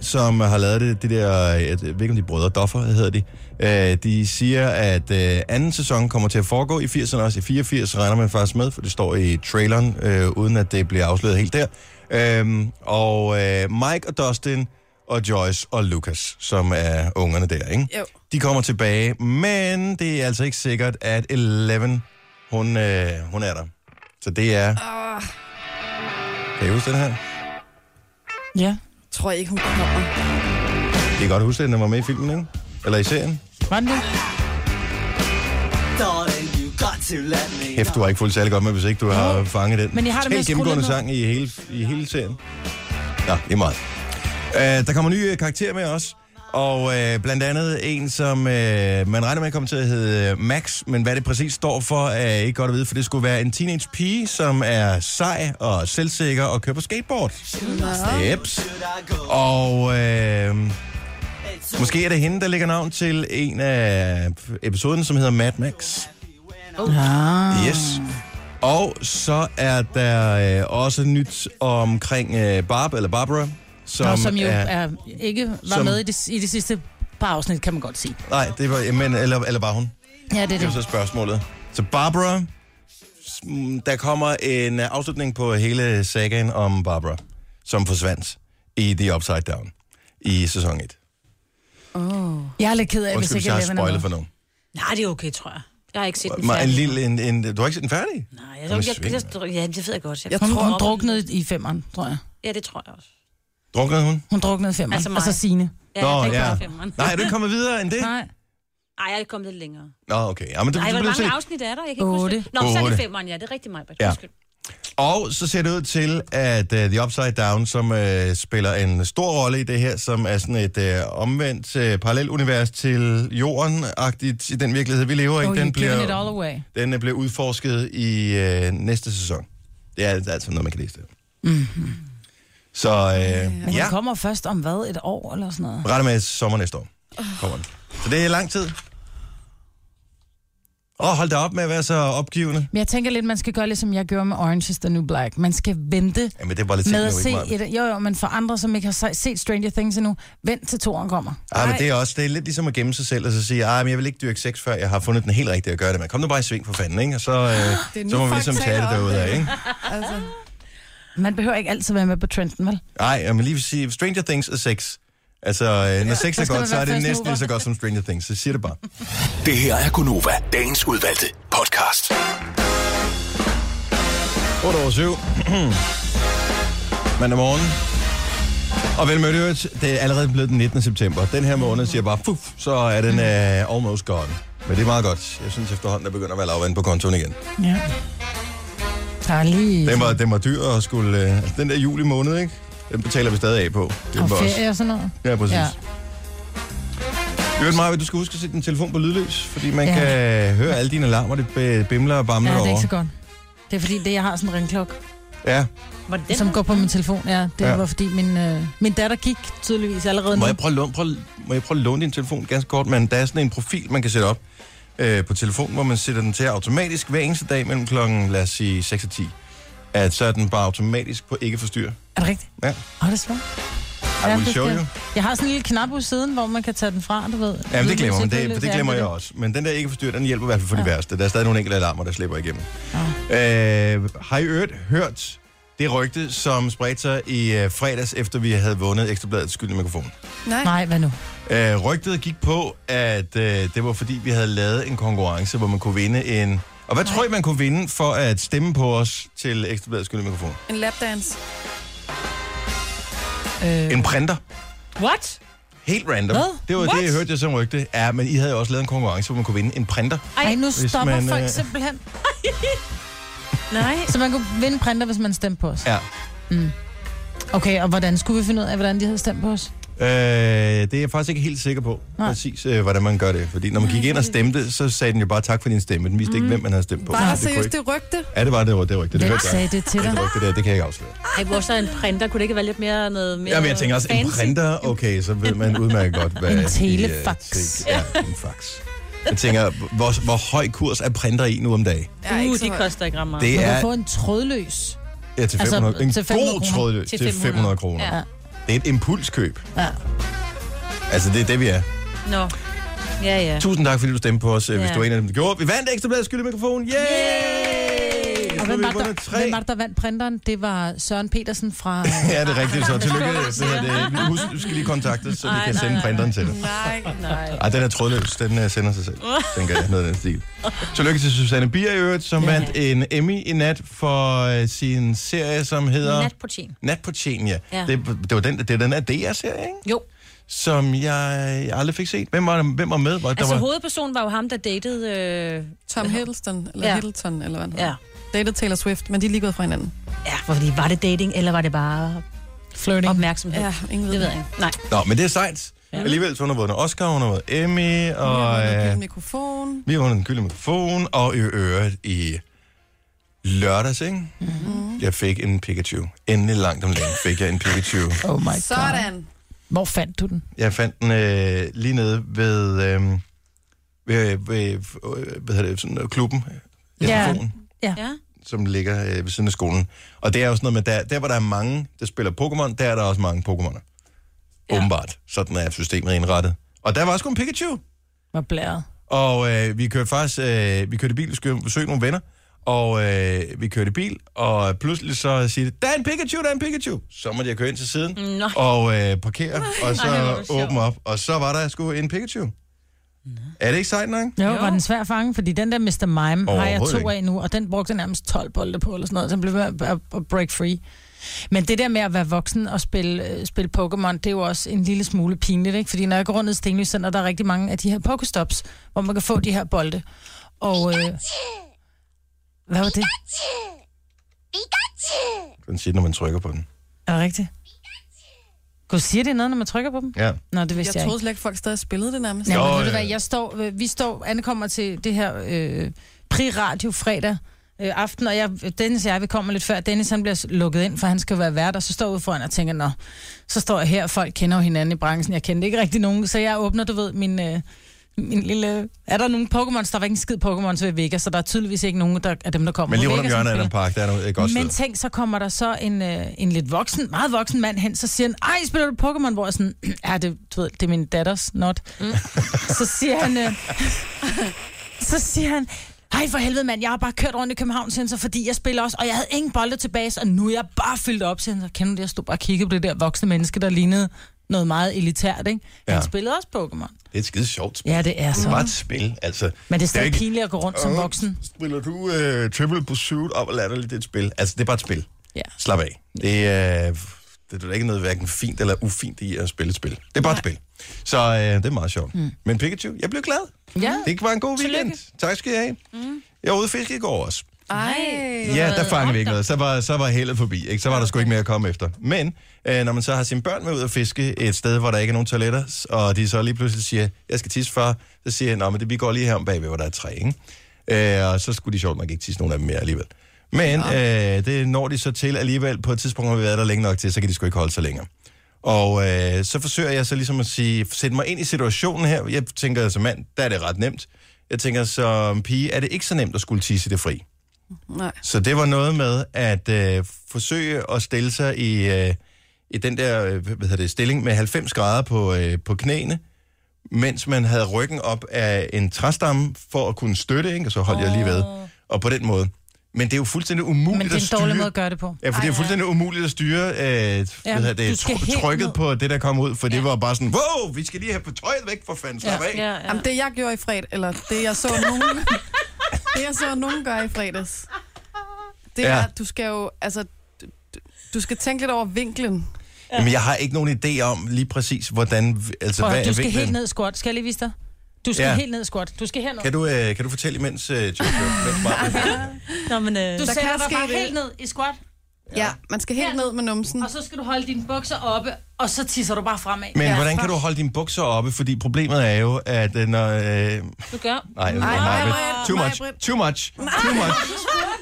S1: som har lavet det, det der, øh, jeg ved ikke om de er brødre, Doffer hedder de, øh, de siger, at øh, anden sæson kommer til at foregå i 80'erne også. I 84 regner man faktisk med, for det står i traileren, øh, uden at det bliver afsløret helt der. Øhm, og øh, Mike og Dustin og Joyce og Lucas, som er ungerne der, ikke?
S2: Jo.
S1: De kommer tilbage, men det er altså ikke sikkert, at Eleven, hun, øh, hun er der. Så det er... Kan I huske den her?
S3: Ja.
S2: Tror jeg ikke, hun kommer.
S1: I kan godt huske, at den var med i filmen, ikke? Eller i serien.
S3: Var den det?
S7: Darling, you got to let me
S1: Hæft, du har ikke fulgt særlig godt med, hvis ikke du har fanget den.
S3: Men jeg har det med
S1: Totalt
S3: at skrue
S1: gennemgående
S3: lidt ned.
S1: sang i hele, i hele serien. Nå, det er meget. Uh, der kommer nye øh, karakterer med os. Og øh, blandt andet en, som øh, man regner med kommer til at hedde øh, Max, men hvad det præcis står for, er ikke godt at vide, for det skulle være en teenage pige, som er sej og selvsikker og kører på skateboard. Steps. Og øh, måske er det hende, der lægger navn til en af episoden, som hedder Mad Max. Oh. Yes. Og så er der øh, også nyt omkring øh, Barb, eller Barbara, som,
S3: Nå, som jo
S1: er...
S3: er, ikke var
S1: som-
S3: med i det, i det sidste par afsnit, kan man godt sige.
S1: Nej, det var... Men, eller, eller var hun?
S3: Ja, det er
S1: Det var
S3: det.
S1: så spørgsmålet. Så Barbara, mm, der kommer en øh, afslutning på hele sagaen om Barbara, som forsvandt i The Upside Down i sæson 1.
S3: Jeg er lidt ked af, hvis
S1: Undskyld, hvis jeg
S3: ikke
S1: har
S3: Eleven er med.
S1: spoilet for nogen.
S4: Nej, det er okay, tror jeg. Jeg har ikke set den
S1: Men En
S4: færdig.
S1: lille, en, en, du har ikke set den færdig?
S4: Nej, jeg, jeg, jeg, jeg, jeg, ja, det ved jeg godt. Jeg,
S3: Hun,
S4: tror,
S3: hun druknede i femmeren, tror jeg.
S4: Ja, det tror jeg også.
S1: Drukkede hun?
S3: Hun druknede i femmeren.
S4: Altså
S3: Altså
S4: mig.
S3: og så Signe.
S4: Ja,
S1: Nå,
S4: jeg
S1: ja. Nej,
S4: Nej.
S1: er du ikke kommet videre end det?
S3: Nej.
S4: Ej, jeg er kommet lidt længere.
S1: Nå, okay. Ja, men det,
S4: Nej,
S1: det
S4: hvor
S1: bliver
S4: mange
S1: set.
S4: afsnit er der? Jeg kan ikke huske
S3: Otte.
S4: det. Nå, så er
S1: Otte.
S4: det femmeren, ja. Det er rigtig meget.
S1: Ja.
S4: Ja.
S1: Og så ser det ud til, at uh, The Upside Down, som uh, spiller en stor rolle i det her, som er sådan et uh, omvendt uh, parallelunivers til jorden-agtigt i den virkelighed, vi lever i,
S3: Oh,
S1: den,
S3: you're giving it all
S1: bliver,
S3: away.
S1: den uh, bliver udforsket i uh, næste sæson. Det er altså noget, man kan læse det. Mm-hmm. Så
S3: Men
S1: uh,
S3: ja.
S1: ja,
S3: hun kommer først om hvad? Et år eller sådan noget?
S1: retter med sommer næste år. Kommer den. Så det er lang tid. Og hold da op med at være så opgivende.
S3: Men jeg tænker lidt, man skal gøre ligesom jeg gjorde med Orange is the New Black. Man skal vente
S1: Jamen, det er bare lidt
S3: med
S1: teknik,
S3: at se
S1: ikke meget.
S3: et... Jo, jo, men for andre, som ikke har se- set Stranger Things endnu, vent til toren kommer.
S1: Ja, Ah, men det er også det er lidt ligesom at gemme sig selv og så sige, "Ej, men jeg vil ikke dyrke sex, før jeg har fundet den helt rigtige at gøre det med. Kom nu bare i sving for fanden, ikke? Og så,
S3: Ah,
S1: øh,
S2: nu,
S1: så må vi
S2: folk
S1: ligesom tage
S2: taler
S1: det
S2: om
S1: derude af,
S2: det.
S1: ikke?
S2: Altså,
S3: Man behøver ikke altid være med på trenden, vel?
S1: Nej, jeg må lige vil sige, Stranger Things er sex. Altså, øh, når sex er
S3: skal man
S1: godt, så
S3: være
S1: er det
S3: fast
S1: næsten
S3: mover.
S1: lige så godt som Stranger Things. Så siger det bare.
S6: Det her er Gunova, dagens udvalgte podcast.
S1: 8 over 7. *clears throat* Mandag morgen. Og vel mødt i øvrigt. det er allerede blevet den 19. september. Den her måned siger bare, fuf, så er den øh, almost gone. Men det er meget godt. Jeg synes efterhånden, der begynder at være lavvand på kontoen igen.
S3: Ja. Der er lige...
S1: Den var, den var dyr og skulle... Øh, altså den der juli måned, ikke? Den betaler vi stadig af på. Det
S3: og
S1: var
S3: ferie
S1: også.
S3: og sådan noget.
S1: Ja, præcis. Ja.
S3: Ja.
S1: Hørte mig, du skal huske at sætte din telefon på lydløs, fordi man ja.
S3: Ja.
S1: kan øh, høre alle dine alarmer, det b- bimler og bamler
S3: Ja, det er
S1: over.
S3: ikke så godt. Det er fordi, det, jeg har sådan en ringklok,
S1: Ja.
S4: Var det den
S3: som
S4: her?
S3: går på min telefon. Ja, det
S1: Ja.
S3: ja. var fordi, min, øh, min datter gik tydeligvis allerede
S1: Må
S3: nu.
S1: jeg prøve at låne, prøve, må jeg prøve at låne din telefon ganske kort, men der er sådan en profil, man kan sætte op øh, på telefonen, hvor man sætter den til automatisk hver eneste dag mellem klokken, lad os sige, 6 og 10. At så er den bare automatisk på ikke forstyrre.
S3: Er det rigtigt?
S1: Ja.
S3: Åh, det er svært.
S1: I
S3: Ja,
S1: will
S3: det
S1: show
S3: skal-
S1: you.
S3: Jeg har sådan en lille knap på siden, hvor man kan tage den fra, du ved.
S1: Ja, men det glemmer man.
S3: Lydløs,
S1: Det,
S3: lydløs,
S1: det
S3: ja,
S1: glemmer
S3: er
S1: jeg
S3: det.
S1: også. Men den der ikke forstyrrer, den hjælper i hvert fald for de værste. Der er stadig nogle enkelte alarmer, der slipper igennem. Ja. Øh, har I i øvrigt hørt det rygte, som spredte sig i øh, fredags, efter vi havde vundet Ekstrabladets skyldende mikrofon?
S2: nej.
S3: Nej, hvad nu?
S1: Øh, rygtet gik på, at øh, det var fordi, vi havde lavet en konkurrence, hvor man kunne vinde en... Og hvad Nej. tror I, man kunne vinde for at stemme på os til Ekstrabladets skyldende mikrofon?
S2: En lapdance.
S3: Øh,
S1: En printer.
S4: What?
S1: Helt random.
S3: Hvad?
S1: Det var
S3: What?
S1: det, jeg hørte jeg som rygte. Ja, men I havde jo også lavet en konkurrence, hvor man kunne vinde en printer.
S3: ej, nu
S1: hvis
S3: stopper
S1: man,
S3: man, folk
S1: øh,
S3: simpelthen.
S4: Nej.
S3: Så man kunne vinde printer, hvis man stemte på os.
S1: Ja.
S3: Okay, og hvordan skulle vi finde ud af, hvordan de havde stemt på os?
S1: Øh, det er jeg faktisk ikke helt sikker på, Nej.
S3: Nej.
S1: præcis øh, hvordan man gør det. Fordi når man gik ind og stemte, så sagde den jo bare tak for din stemme. Den viste mm. ikke, hvem man havde stemt på. Så det
S2: Bare
S1: kunne
S2: seriøst,
S1: ikke-
S2: det rygte.
S1: Ja, det var det, det var rigtigt. Det
S3: Hvem
S1: hørte jeg.
S3: sagde det til dig?
S1: Det rigtigt, det, det kan jeg ikke afsløre.
S4: Ej, hvor så en printer? Kunne det ikke være lidt mere noget mere
S1: Ja, men jeg tænker også, en
S4: fancy?
S1: printer, okay, så ved
S3: *laughs*
S1: man udmærket godt, hvad...
S3: En
S1: i, øh,
S3: telefax.
S1: tænk- Ja, en fax. Jeg tænker, hvor, hvor høj kurs er printer i nu om dagen?
S2: er
S4: Uh,
S2: ikke så
S4: de
S2: høj.
S4: koster ikke ret meget.
S1: Det
S3: Man
S1: er
S3: kunne få en trådløs.
S1: ja, til
S3: altså,
S1: 500, en
S3: til
S1: god
S3: 500 kroner.
S1: trådløs til 500 kroner.
S4: Ja.
S1: Det er et impulskøb.
S3: Ja.
S1: Altså, det er det, vi er.
S4: Nå. Ja, ja.
S1: Tusind tak, fordi du stemte på os, ja. hvis
S4: Ja.
S1: du er en af dem, der gjorde. Vi vandt ekstra bladet skyldig mikrofon. Yay! Yay!
S3: Og hvem var, det, der, hvem var det, der vandt printeren? Det var Søren Petersen
S1: *laughs*
S3: fra... øh,
S1: Ja, det er rigtigt, så tillykke. Det her, det, husk, du skal lige kontakte os, så vi kan sende printeren til dig.
S2: Nej, nej.
S1: Ej, den er trådløs. Den uh, sender sig selv. Den gør noget af den stil. Tillykke til Susanne Bier i øvrigt, som vandt en Emmy i nat for uh, sin serie, som hedder...
S4: Nat på tjen.
S1: Nat på tjen, ja.
S4: Ja.
S1: Det, det, var den, det er den her DR-serie, ikke?
S4: Jo.
S1: Som jeg aldrig fik set. Hvem var, hvem var med? Var, der
S4: Altså,
S1: var,
S4: hovedpersonen var jo ham, der datede... Øh...
S2: Tom Hiddleston, eller
S4: Ja.
S2: ja. Hiddleton, eller hvad han
S4: Ja.
S2: hedder. Dated Taylor Swift, men de er lige gået fra hinanden.
S4: Ja, fordi var det dating, eller var det bare
S3: Flirting.
S4: opmærksomhed?
S2: Ja, ingen ved
S4: Det ved
S2: det.
S4: jeg ikke. Nej.
S1: Nå, men det er sejt. Ja. Alligevel, så hun har vundet Oscar, hun har vundet Emmy, og
S2: Jeg har
S1: øh,
S2: en mikrofon.
S1: vi har vundet den gyldne mikrofon, og i øvrigt i lørdags, ikke? Mm-hmm. Jeg fik en Pikachu. Endelig langt om længe fik jeg en Pikachu.
S3: Oh my god.
S2: Sådan.
S3: Hvor fandt du den?
S1: Jeg fandt den øh, lige nede ved, øh, ved, ved øh, hvad hedder det, sådan, øh, klubben,
S3: Ja.
S1: ja.
S4: Ja.
S1: som ligger øh, ved siden af skolen. Og det er jo sådan noget med, der, der hvor der er mange, der spiller Pokémon, der er der også mange Pokémoner. Ja. Åbenbart. Sådan er systemet indrettet. Og der var også kun Pikachu.
S3: Var blæret.
S1: Og øh, vi kørte faktisk, øh, vi kørte i bil, vi skulle besøge nogle venner, og øh, vi kørte i bil, og pludselig så siger det, der er en Pikachu, der er en Pikachu. Så måtte jeg køre ind til siden
S4: Nej.
S1: og øh, parkere, og
S4: Ej, hvor er
S1: så
S4: det sjovt.
S1: åbne op. Og så var der sgu en Pikachu. Er det ikke sejt nok?
S3: Jo, jo, var den svær at fange, fordi den der Mr. Mime har jeg
S1: Overhovedet
S3: to
S1: ikke.
S3: af nu, og den brugte jeg nærmest 12 bolde på, eller sådan noget, så den blev ved at- at at break free. Men det der med at være voksen og spille, øh, spille Pokémon, det er jo også en lille smule pinligt, ikke? Fordi når jeg går rundt i Stenløs Center, der er rigtig mange af de her Pokestops, hvor man kan få de her bolde. Og... Øh, hvad var det?
S1: Den siger, den, når man trykker på den.
S3: Er det rigtigt? Gud, siger det noget, når man trykker på dem?
S1: Ja.
S3: Nå, det vidste jeg,
S2: Jeg
S3: ikke.
S2: troede slet ikke, folk stadig spillede det nærmest.
S3: Nej,
S1: Jo,
S3: men ved du
S1: ja.
S3: hvad, jeg står, øh, vi står, ankommer til det her øh, pri-radio fredag øh, aften, og jeg, Dennis og jeg, vi kommer lidt før. Dennis han bliver lukket ind, for han skal være vært, og så står jeg ude foran og tænker, nå, så står jeg her, folk kender jo hinanden i branchen, jeg kendte ikke rigtig nogen, så jeg åbner, du ved, min... Øh, min lille... Er der nogen Pokémon? Der var ikke en skid Pokémon ved Vega, så der er tydeligvis ikke nogen der, af dem, der kommer.
S1: Men lige
S3: på
S1: rundt om
S3: Vega, som
S1: hjørnet er der
S3: spiller.
S1: en park, der er noget- et godt
S3: Men
S1: sted.
S3: tænk, så kommer der så en, øh, en lidt voksen, meget voksen mand hen, så siger han, ej, spiller du Pokémon? Hvor jeg sådan, *clears throat* ja, det, du ved, det er min datters not. Mm. *laughs* så siger han, øh, *laughs* så siger han, ej for helvede mand, jeg har bare kørt rundt i København, siger han så, fordi jeg spiller også, og jeg havde ingen bolde tilbage, så nu er jeg bare fyldt op, siger han så, kender du det, jeg stod bare og kiggede på det der voksne menneske, der lignede noget meget elitært, ikke? Han
S1: Ja.
S3: spillede også Pokémon.
S1: Det er et skide sjovt spil.
S3: Ja, det er
S1: Det er bare
S3: så.
S1: et spil, altså.
S3: Men det er stadig
S1: ikke-
S3: pinligt at gå rundt som
S1: Åh,
S3: voksen.
S1: Spiller du uh, Triple Pursuit op og latterligt, det er et spil. Altså, det er bare et spil.
S3: Ja.
S1: Slap af. Det er, det er der ikke noget hverken fint eller ufint i at spille et spil. Det er bare et spil. Så øh, det er meget sjovt. Mm. Men Pikachu, jeg blev glad.
S3: Ja.
S1: Det var en god weekend. Tak skal I have. Mm. Jeg var ude at fiske i går også.
S2: Ej.
S1: Ja, der fangede vi ikke noget. Så var, så var heldet forbi. Ikke? Så var der sgu ikke mere at komme efter. Men øh, når man så har sine børn med ud at fiske et sted, hvor der ikke er nogen toiletter, s- og de så lige pludselig siger, jeg skal tisse før, så siger jeg, "Nå, men det, vi går lige her om bagved, hvor der er træ. Ikke? Øh, og så skulle de sjovt nok ikke tisse nogen af dem mere alligevel. Men øh, det når de så til alligevel. På et tidspunkt har vi været der længe nok til, så kan de sgu ikke holde sig længere. Og øh, så forsøger jeg så ligesom at sige, sætte mig ind i situationen her. Jeg tænker som mand, der er det ret nemt. Jeg tænker som pige, er det ikke så nemt at skulle tisse i det fri.
S2: Nej.
S1: Så det var noget med at øh, forsøge at stille sig i, øh, i den der øh, hvad hedder det, stilling med 90 grader på, øh, på knæene, mens man havde ryggen op af en træstamme for at kunne støtte, ikke? og så holdt oh. jeg lige ved. Og på den måde. Men det er jo fuldstændig umuligt
S3: Men det
S1: at
S3: er en
S1: styre.
S3: dårlig måde at gøre det på.
S1: Ja, for det er fuldstændig umuligt at styre øh, hvad hedder
S3: du
S1: det,
S3: skal
S1: tr-
S3: helt
S1: trykket
S3: ned.
S1: på det, der kom ud, for det var bare sådan, wow, vi skal lige have tøjet væk, for fanden, slap af.
S4: Ja, ja.
S2: Jamen, det jeg gjorde i fredag, eller det jeg så nogen,
S3: *laughs*
S2: det jeg så nogen gøre i fredags, det
S1: Ja.
S2: ja. er, du skal jo, altså, du- du- du skal tænke lidt over vinklen.
S1: Jamen, jeg har ikke nogen idé om lige præcis, hvordan... Altså,
S3: Prøv, at
S1: hvad
S3: høre,
S1: er
S3: du skal
S1: vinklen?
S3: helt ned i squat. Skal jeg lige vise dig? Du skal
S1: Ja.
S3: helt ned i squat. Du skal herned.
S1: Kan du, øh, kan du fortælle imens, øh, *laughs* Jojo, mens Martin-
S4: Nå, men, øh,
S2: Der
S3: Du sætter
S2: kan
S3: dig
S2: ske
S3: bare
S2: det.
S3: helt ned i squat,
S2: Ja. ja. man skal helt
S3: Ja.
S2: ned med numsen.
S3: og så skal du holde dine bukser oppe, og så tisser du bare fremad.
S1: Men ja, hvordan kan du holde dine bukser oppe? Fordi problemet er jo, at øh, når... Øh, nej,
S4: du gør.
S1: nej,
S2: nej,
S1: nej, men-
S2: Britt,
S1: too
S2: nej,
S1: much,
S2: Britt.
S1: too much, too much.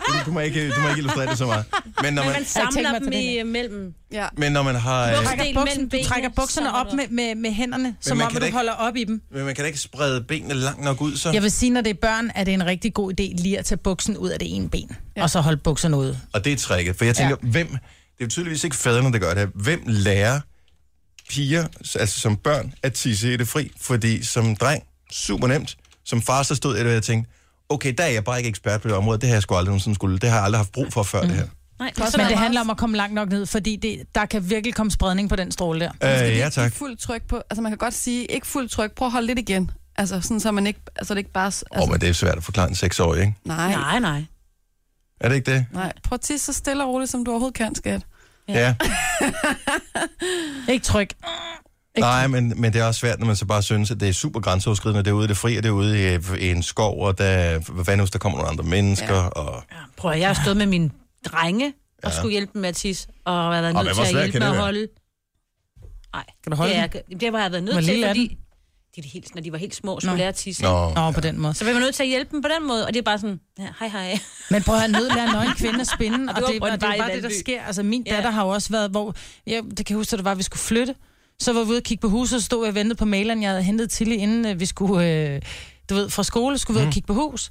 S1: Du- Du må ikke, du må ikke illustrere det så meget. Men når man,
S4: Man samler
S3: mig til
S4: dem
S3: det
S4: i øh, mellem.
S2: Ja.
S1: men når man har... Øh,
S4: Bukserne.
S3: trækker
S4: Del
S3: buksen,
S4: mellem
S3: du trækker
S4: benene,
S3: bukserne
S4: så holder
S3: op
S4: du.
S3: med, med, med hænderne, som
S1: man
S3: om
S1: kan
S3: at
S1: da
S3: du
S1: ikke-
S3: holder op i dem.
S1: men man kan da ikke sprede benene langt nok ud, så...
S3: Jeg vil sige, når det er børn, er det en rigtig god idé lige at tage buksen ud af det ene ben, ja. og så holde bukserne ude.
S1: Og det er tricket. For jeg tænker, ja. hvem... Det er jo tydeligvis ikke fædrene, der gør det her. Hvem lærer piger, altså som børn, at tisse i det fri? Fordi som dreng, super nemt. Som far, så stod jeg der, og jeg tænkte, okay, der er jeg bare ikke ekspert på det område. Det har jeg sgu aldrig nogensinde skulle. Det har jeg aldrig haft brug for før, mm. det her.
S4: Nej,
S3: Men det handler om at komme langt nok ned, fordi det, der kan virkelig komme spredning på den stråle der.
S1: Øh, ja,
S2: Ikke
S1: tak.
S2: Fuld tryk på, altså man kan godt sige, ikke fuld tryk, prøv at holde lidt igen. Altså sådan, så man ikke, altså det ikke bare, s-
S1: Åh,
S2: altså,
S1: oh, men det er svært at forklare en seksårig, ikke?
S2: nej,
S4: Nej, nej.
S1: Er det ikke det?
S2: nej. Prøv at tisse så stille og roligt, som du overhovedet kan, skat.
S1: Ja. ja.
S3: Ikke tryk.
S1: Nej, men, men det er også svært, når man så bare synes, at det er super grænseoverskridende. Det er ude i det fri, og det er ude i, øh, i en skov, og der, hvad fanden hvis der kommer nogle andre mennesker. Ja. Og...
S4: Ja, Prøv at, jeg har stået med mine drenge og skulle hjælpe dem med at tisse, og har været
S1: Og hvad-
S4: nødt til
S1: hvor
S4: at
S1: svært
S4: hjælpe
S1: kan
S4: med
S1: det
S4: at
S1: være?
S4: holde. Nej,
S3: Kan du holde
S4: det,
S3: ja.
S4: er, jeg- det var jeg været nødt
S3: Hvor
S4: til,
S3: lille er
S4: fordi de, er det helt, når de var helt små, skulle
S3: Nå.
S4: lære at tisse.
S1: Nå.
S3: Nå, på den måde.
S4: Så var jeg nødt til at hjælpe dem på den måde, og det er bare sådan, ja, hej hej.
S3: Men prøv at høre, nød lærer nøgen kvinde at spinde, og
S4: det
S3: det,
S4: var
S3: og det, og det er
S4: Brøndby
S3: jo bare
S4: i
S3: det, der
S4: Valby.
S3: sker. Altså, min
S4: Ja.
S3: datter har jo også været, hvor... Ja, det kan jeg huske, at det var, at vi skulle flytte. Så var vi ude og kigge på huset, og stod jeg og ventede på maleren, jeg havde hentet til inden øh, vi skulle, øh, du ved, fra skole, skulle vi
S1: Mhm.
S3: ud og kigge på hus.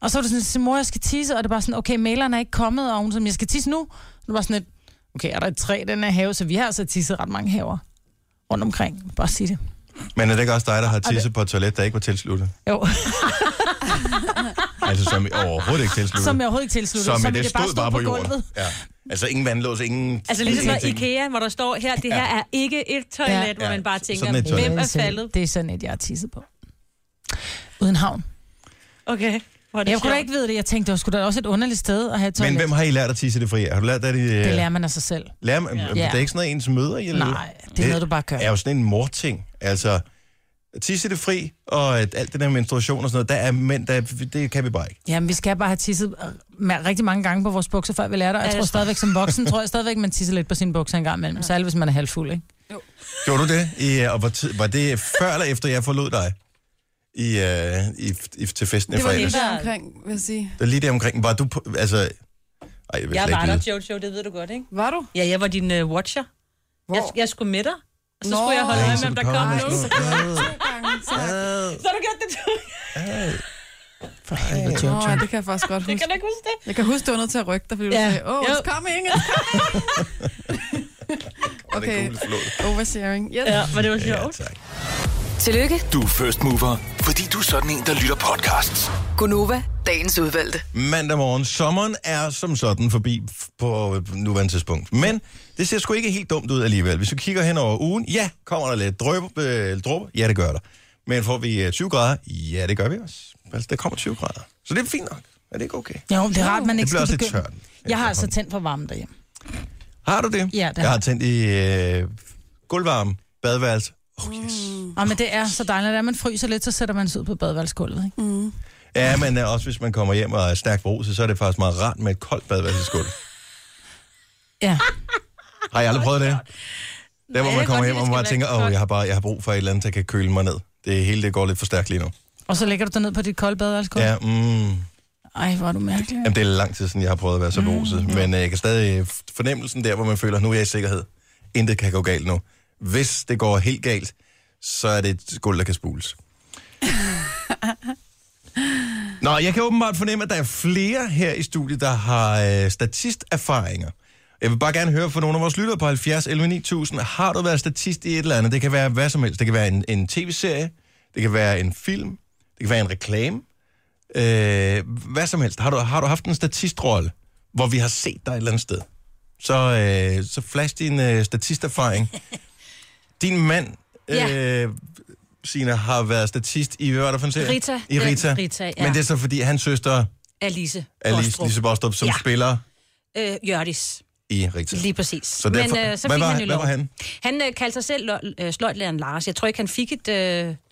S3: Og så var det sådan, at mor, jeg skal tisse, og det var sådan, okay, maleren er ikke kommet, og hun som jeg skal tisse nu. Og det var sådan et, okay, er der et træ i den her have? Så vi har altså tisset ret mange haver rundt omkring. Bare sige det.
S1: Men er det ikke også dig, der har tisset på et toilet, der ikke var tilsluttet?
S3: Jo, *laughs*
S1: Altså, som overhovedet ikke tilsluttet.
S3: som jeg overhovedet ikke tilsluttet.
S1: som,
S3: som
S1: det,
S3: i
S1: det stod
S3: bare
S1: bare på, jorden.
S3: gulvet.
S1: Ja. Altså, ingen vandlås, ingen...
S4: *laughs* Altså ligesom når
S1: ingenting.
S4: IKEA, hvor der står her, det her er ikke et toilet,
S3: Ja.
S4: ja. hvor man bare tænker,
S1: Sådan et toilet.
S4: hvem er faldet?
S3: Det er sådan et, jeg har tisset på. Uden havn.
S4: Okay, hvor er det
S3: Jeg kunne da
S4: sjovt.
S3: ikke vide det. Jeg tænkte, det var sgu da også et underligt sted at have et toilet.
S1: Men hvem har I lært at tisse det fri? af? Har du lært, at I... øh,
S3: Det lærer man af sig selv.
S1: Lærer man, ja. Det er ikke sådan noget, ens møder i
S3: Nej, det er noget, du bare gør.
S1: er jo sådan en morting. Altså, tisse det fri, og at alt det der menstruation og sådan noget, der er mænd, der, det kan vi bare ikke.
S3: Jamen, vi skal bare have tisset øh, ma- rigtig mange gange på vores bukser, før vi lærer det. Og Jeg
S4: Ja,
S3: tror
S4: det-
S3: stadigvæk som voksen, tror jeg stadigvæk, man tisser lidt på sine bukser en gang imellem. Særligt, hvis man er halvfuld, ikke?
S1: Gjorde du det? I, øh, og var, tid, var det før eller efter, jeg forlod dig? I, uh, i, i, til festen i
S2: Det var lige
S1: fredags?
S2: der omkring, vil jeg sige.
S1: Det var lige der omkring. Var du på, altså... Ej, jeg vil
S4: Jeg
S1: slet
S4: var
S1: ikke
S4: der,
S1: vide.
S4: Jojo, det ved du godt, ikke?
S2: Var du?
S4: Ja, jeg var din uh, watcher.
S2: Hvor?
S4: Jeg, jeg skulle med dig, og så
S2: Nå.
S4: skulle jeg holde
S2: Ej,
S4: øje
S1: så
S4: med, om
S1: du
S4: der
S1: kommer
S4: kom
S1: med
S4: nogen.
S1: sådan
S2: *laughs* To gange, tak.
S4: Så har du gjort det, du.
S3: For helvede,
S2: Nå, ja,
S3: Jojo.
S2: det kan jeg faktisk godt
S4: Jeg
S2: huske.
S4: kan da ikke huske det.
S2: Jeg kan huske, du var nødt til at rykke dig, fordi du
S4: Ja.
S2: sagde, åh,
S4: Jo.
S2: it's coming, it's *laughs*
S1: Og det
S2: Okay.
S1: gule flåd.
S2: coming. Oversharing. Yes.
S4: Ja, men det var
S1: Ja, altså.
S4: sjovt.
S1: tak.
S5: Tillykke,
S6: Du er first mover, fordi du er sådan en, der lytter podcasts.
S5: Gunova, dagens udvalgte.
S1: mandag morgen. Sommeren er som sådan forbi f- på nuværende tidspunkt. Men det ser sgu ikke helt dumt ud alligevel. Hvis vi kigger hen over ugen, ja, kommer der lidt drøb, øh, drøb. Ja, det gør der. Men får vi øh, 20 grader? Ja, det gør vi også. Altså, der kommer 20 grader. Så det er fint nok. Er det ikke okay?
S3: Jo, det er rart, man ikke
S1: bliver også
S3: skal
S1: lidt
S3: begynde.
S1: tørt.
S3: Jeg har altså tændt for varmen derhjemme.
S1: Har du det?
S3: Ja, det
S1: Jeg
S3: har
S1: har
S3: jeg.
S1: tændt i øh, gulvvarme, badeværelse. Oh, yes.
S3: Og men det er så dejligt, at man fryser lidt, så sætter man sig ud på badeværelsesgulvet, ikke?
S1: Ja, men øh, også hvis man kommer hjem og er stærkt bruset, så er det faktisk meget rart med et koldt badeværelsesgulv.
S3: Ja.
S1: Har I aldrig prøvet det? Der, hvor
S4: jeg
S1: man
S4: kan
S1: kommer
S4: godt
S1: hjem,
S4: lide,
S1: og
S4: at
S1: man bare
S4: det skal
S1: tænker,
S4: være
S1: åh,
S4: koldt."
S1: jeg har, bare, jeg har brug for et eller andet, der kan køle mig ned. Det hele det går lidt for stærkt lige nu.
S3: Og så ligger du dig ned på dit kolde badeværelsesgulv.
S1: Ja, mm,
S3: Ej, hvor er du mærkelig.
S1: jamen, det er lang tid siden, jeg har prøvet at være
S4: Mm,
S1: så beruset. Men øh, jeg kan stadig f- fornemmelsen der, hvor man føler, nu er jeg i sikkerhed. Intet kan gå galt nu. Hvis det går helt galt, så er det et gulv, der kan spules. Nå, jeg kan åbenbart fornemme, at der er flere her i studiet, der har øh, statisterfaringer. Jeg vil bare gerne høre fra nogle af vores lyttere på 70 11 9000. Har du været statist i et eller andet? Det kan være hvad som helst. Det kan være en, en tv-serie, det kan være en film, det kan være en reklame. Øh, hvad som helst. Har du, har du haft en statistrolle, hvor vi har set dig et eller andet sted? Så, øh, så flash din øh, statisterfaring. Din mand, øh, ja. Sina, har været statist i, hvad var det for en serie?
S4: Rita.
S1: I
S4: Den
S1: Rita.
S4: Rita, ja.
S1: Men det er så fordi, hans søster
S4: Alice.
S1: Alice
S4: Bostrup.
S1: Lise Bostrup, som ja.
S4: Ja.
S1: spiller
S4: Øh, Jørdis.
S1: i Rita.
S4: Lige præcis. Så
S1: derfor-
S4: Men øh, så
S1: hvad
S4: fik
S1: var-
S4: han jo
S1: hvad
S4: lov.
S1: var han?
S4: Han øh, kaldte sig selv lo- øh, sløjtlæreren Lars. Jeg tror ikke, han fik et øh,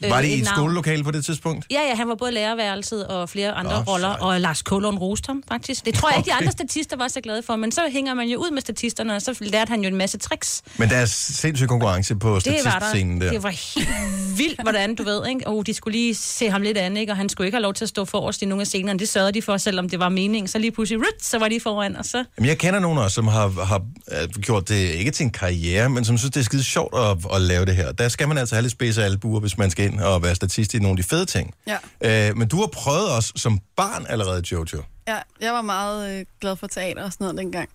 S1: Var det
S4: øh,
S1: i et
S4: navn.
S1: skolelokale på det tidspunkt?
S4: Ja, ja, han var både lærerværelset og flere andre
S1: Nå,
S4: Nå, roller,
S1: sejt.
S4: og Lars Kålund roste ham, faktisk. Det tror jeg ikke, de
S1: Okay.
S4: andre statister var så glade for, men så hænger man jo ud med statisterne, og så lærte han jo en masse tricks.
S1: Men der er sindssyg konkurrence på
S4: Det var der.
S1: statistscenen der.
S4: Det var helt vildt, hvordan du ved, ikke? Og de skulle lige se ham lidt an, ikke? Og han skulle ikke have lov til at stå forrest i nogle af scenerne. Det sørgede de for, selvom det var meningen. Så lige pludselig, rut, så var de foran, og så...
S1: Jamen, jeg kender nogen også, som har, har øh, gjort det ikke til en karriere, men som synes, det er skide sjovt at, at lave det her. Der skal man altså have lidt spids af albuer, hvis man skal ind og være statist i nogle af de fede ting. Ja. Øh, men du har prøvet os som barn allerede, Jojo.
S2: Ja, jeg var meget øh, glad for teater og sådan noget dengang.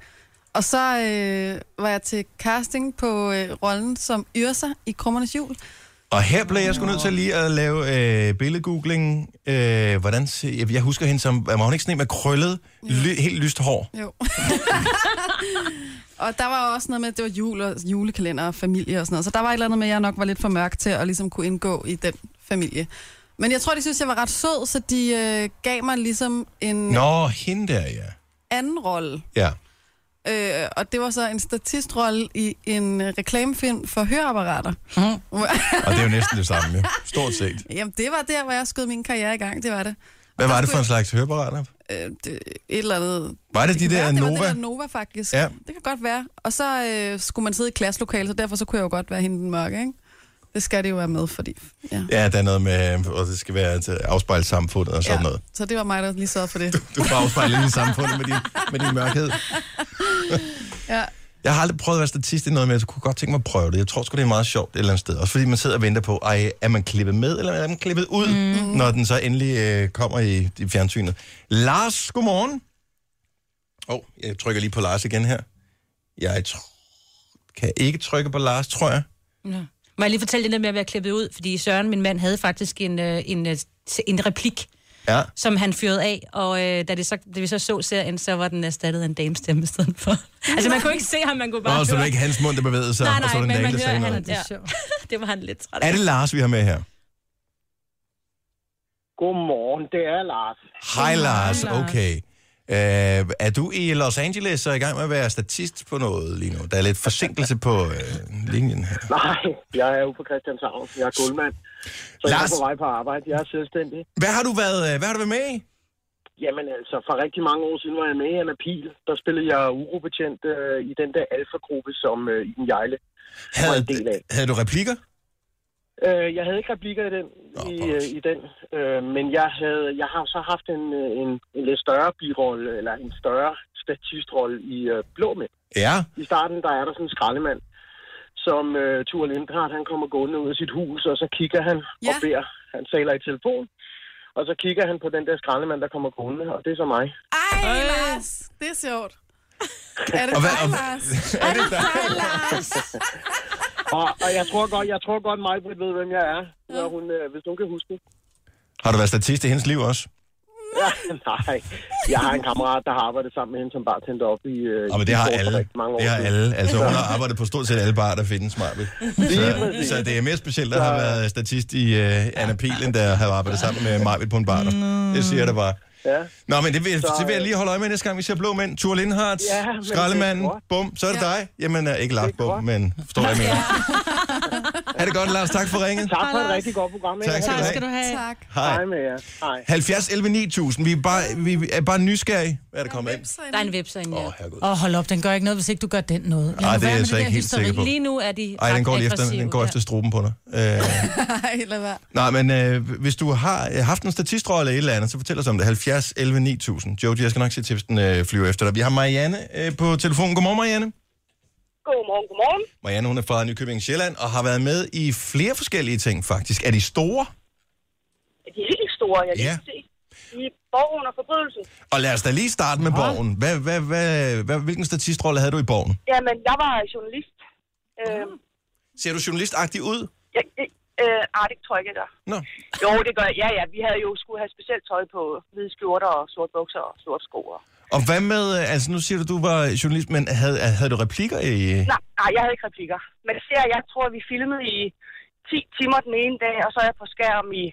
S2: Og så øh, var jeg til casting på øh, rollen som Yrsa i Krummernes Jul.
S1: Og her blev jeg sgu nødt til lige at lave øh, billedgoogling. Øh, hvordan se, jeg, jeg husker hende som, var hun ikke sådan en med krøllet, ly, helt lyst hår?
S2: Jo. *laughs* og der var også noget med, at det var jul og julekalender og familie og sådan noget. Så der var et eller andet med, at jeg nok var lidt for mørk til at ligesom kunne indgå i den familie. Men jeg tror, de synes, jeg var ret sød, så de øh, gav mig ligesom en no.
S1: Nå, hende der, ja.
S2: anden rolle.
S1: Ja.
S2: Øh, og det var så en statistrolle i en øh, reklamefilm for høreapparater.
S1: Mhm. Og det er jo næsten det samme, jo. Stort set.
S2: *laughs* Jamen, det var der, hvor jeg skød min karriere i gang. Det var det.
S1: Hvad
S2: Og
S1: var
S2: der
S1: det for en
S2: skulle
S1: slags høreapparater?
S2: jeg- Øh, det, et eller andet...
S1: Var det de
S2: kan
S1: der
S2: være, det
S1: Nova?
S2: var det der Nova, faktisk.
S1: Ja.
S2: Det kan godt være. Og så øh, skulle man sidde i klasselokalet, så derfor så kunne jeg jo godt være hende den mørke, ikke? Det skal det jo være med, fordi... Ja.
S1: Ja, der er noget med, og det skal være til at afspejle samfundet og sådan ja. noget.
S2: Så det var mig, der lige sørgede for det.
S1: Du får afspejlet ind i samfundet med din, med din mørkhed.
S2: Ja.
S1: Jeg har aldrig prøvet at være statist i noget, men jeg kunne godt tænke mig at prøve det. Jeg tror sgu, det er meget sjovt et eller andet sted. Også fordi man sidder og venter på, ej, er man klippet med, eller er man klippet ud, mm. når den så endelig øh, kommer i, i fjernsynet. Lars, godmorgen. Åh, oh, jeg trykker lige på Lars igen her. Jeg tr- kan ikke trykke på Lars, tror jeg.
S4: Nå. Må jeg lige fortælle det der med at være klippet ud? Fordi Søren, min mand, havde faktisk en, øh, en, øh, en replik,
S1: Ja.
S4: som han fyrede af, og øh, da, det så, da vi så så serien, så var den erstattet af en damestemme i stedet
S3: *laughs*
S4: for. altså, man kunne ikke se ham, man kunne bare
S1: Nå, så det var
S4: høre.
S1: ikke hans mund, der bevægede sig.
S4: Nej,
S1: og så var
S4: nej,
S1: det en dame,
S4: men man
S1: der sagde
S4: hører,
S1: noget.
S4: han er ja. *laughs* Det var han lidt træt af.
S1: Er det Lars, vi har med her?
S8: Godmorgen, det er
S1: *laughs*
S8: Lars.
S1: Hej,
S3: Hej,
S1: Lars.
S3: Lars.
S1: Okay. Øh, er du i Los Angeles og i gang med at være statist på noget lige nu? Der er lidt forsinkelse på øh, linjen her.
S8: Nej, jeg er jo på Christianshavn. Jeg er guldmand. Så jeg
S1: Lars.
S8: er på vej på arbejde. Jeg er selvstændig.
S1: Hvad har du været, øh, hvad har du været med i?
S8: Jamen altså, for rigtig mange år siden var jeg med i Anna Pil. Der spillede jeg urobetjent øh, i den der alfa-gruppe, som øh, i den jejle. var en del
S1: Havde,
S8: af.
S1: havde du replikker?
S8: Øh, jeg havde ikke replikker i den,
S1: Nå,
S8: i,
S1: for-
S8: øh, i den. Øh, men jeg, havde, jeg har jo så haft en, øh, en, en lidt større birolle, eller en større statistrolle i øh, Blå Mænd.
S1: Ja.
S8: I starten, der er der sådan en skraldemand, som øh, Thur Lindhardt, han kommer gående ud af sit hus, og så kigger han ja. og
S2: Ja.
S8: beder. Han taler i telefon, og så kigger han på den der skraldemand, der kommer gående, og det er så mig.
S2: Ej, Lars, det er sjovt. Er det
S1: Og hvad-
S2: dig,
S1: og-
S2: Lars?
S1: Er det dig?
S8: Og, og jeg tror godt, jeg tror godt, mig ved, hvem jeg er, når hun, øh, hvis hun kan huske det.
S1: Har du været statist i hendes liv også?
S8: Ja, *laughs* nej, jeg har en kammerat, der har arbejdet sammen med hende som bartender op i... Øh,
S1: Og men
S8: i
S1: det har
S8: Fort for
S1: alle.
S8: rigtig Mange år
S1: Det har
S8: siden.
S1: alle. Altså, hun har arbejdet på stort set alle barer, der findes, Marvel. Så,
S8: præcis.
S1: så det er mere specielt at have været statist i uh, Anna Pihl, end der har arbejdet sammen med Marvel på en bar. Der. Det siger jeg da bare.
S8: Ja.
S1: Nå, men det vil,
S8: Så,
S1: det vil jeg lige holde øje med næste gang, vi ser blå mænd. Thur Lindhardt,
S8: Ja, men det er
S1: skraldemanden,
S8: godt.
S1: bum, så er det dig. Jamen, uh, ikke lagt bum,
S8: godt.
S1: men forstår hvad jeg mener.
S8: *laughs*
S1: Ha' det godt, Lars. Tak for ringet.
S8: Tak for et rigtig godt program. ikke?
S1: Tak skal
S3: Tak
S1: du
S3: skal du have.
S2: Tak.
S1: Hej.
S8: Hej med jer. Hej.
S1: 70 11 9000. Vi er bare, vi er bare nysgerrige. Hvad er der kommet ind?
S4: Der er en webser inde, ja.
S1: Åh, herregud.
S3: Åh, hold op, den gør ikke noget, hvis ikke du gør den noget. Lad
S1: Ej,
S3: nu
S1: det
S3: være
S1: er
S3: med
S1: jeg så
S3: der
S1: ikke helt
S3: hysteri.
S1: sikker på.
S4: Lige nu er de
S1: Ej, den
S4: ret
S1: går, lige efter,
S4: aggressive,
S1: den går
S4: ja.
S1: efter struben på dig. Øh,
S2: Nej, lad være.
S1: nej, men øh, hvis du har øh, haft en statistrolle eller et eller andet, så fortæl os om det. 70 11 9000. Jojo, jeg skal nok se tipsen øh, flyve efter dig. Vi har Marianne øh, på telefonen. Godmorgen, Marianne.
S9: Godmorgen, godmorgen.
S1: Marianne, hun er fra Nykøbing Sjælland og har været med i flere forskellige ting, faktisk. Er de store?
S9: De er helt store, jeg kan
S1: Ja.
S9: ikke se. De er borgen og forbrydelsen.
S1: Og lad os da lige starte med Borgen. Hvad, hvad, hvad, hvad, hvilken statistrolle havde du i Borgen?
S9: Jamen, jeg var journalist. Øh,
S1: Ser du journalistagtig ud?
S9: jeg, jeg, øh, ah, det tror jeg ikke, jeg gør.
S1: Nå.
S9: Jo, det gør jeg. Ja, ja, vi havde jo skulle have specielt tøj på hvide skjorter og sorte bukser og sorte sko. Og...
S1: Og hvad med, øh, altså nu siger du, du var journalist, men havde, havde du replikker i...
S9: Nej, nej, jeg havde ikke replikker. Men ser, jeg tror, vi filmede i 10 timer den ene dag, og så er jeg på skærm i,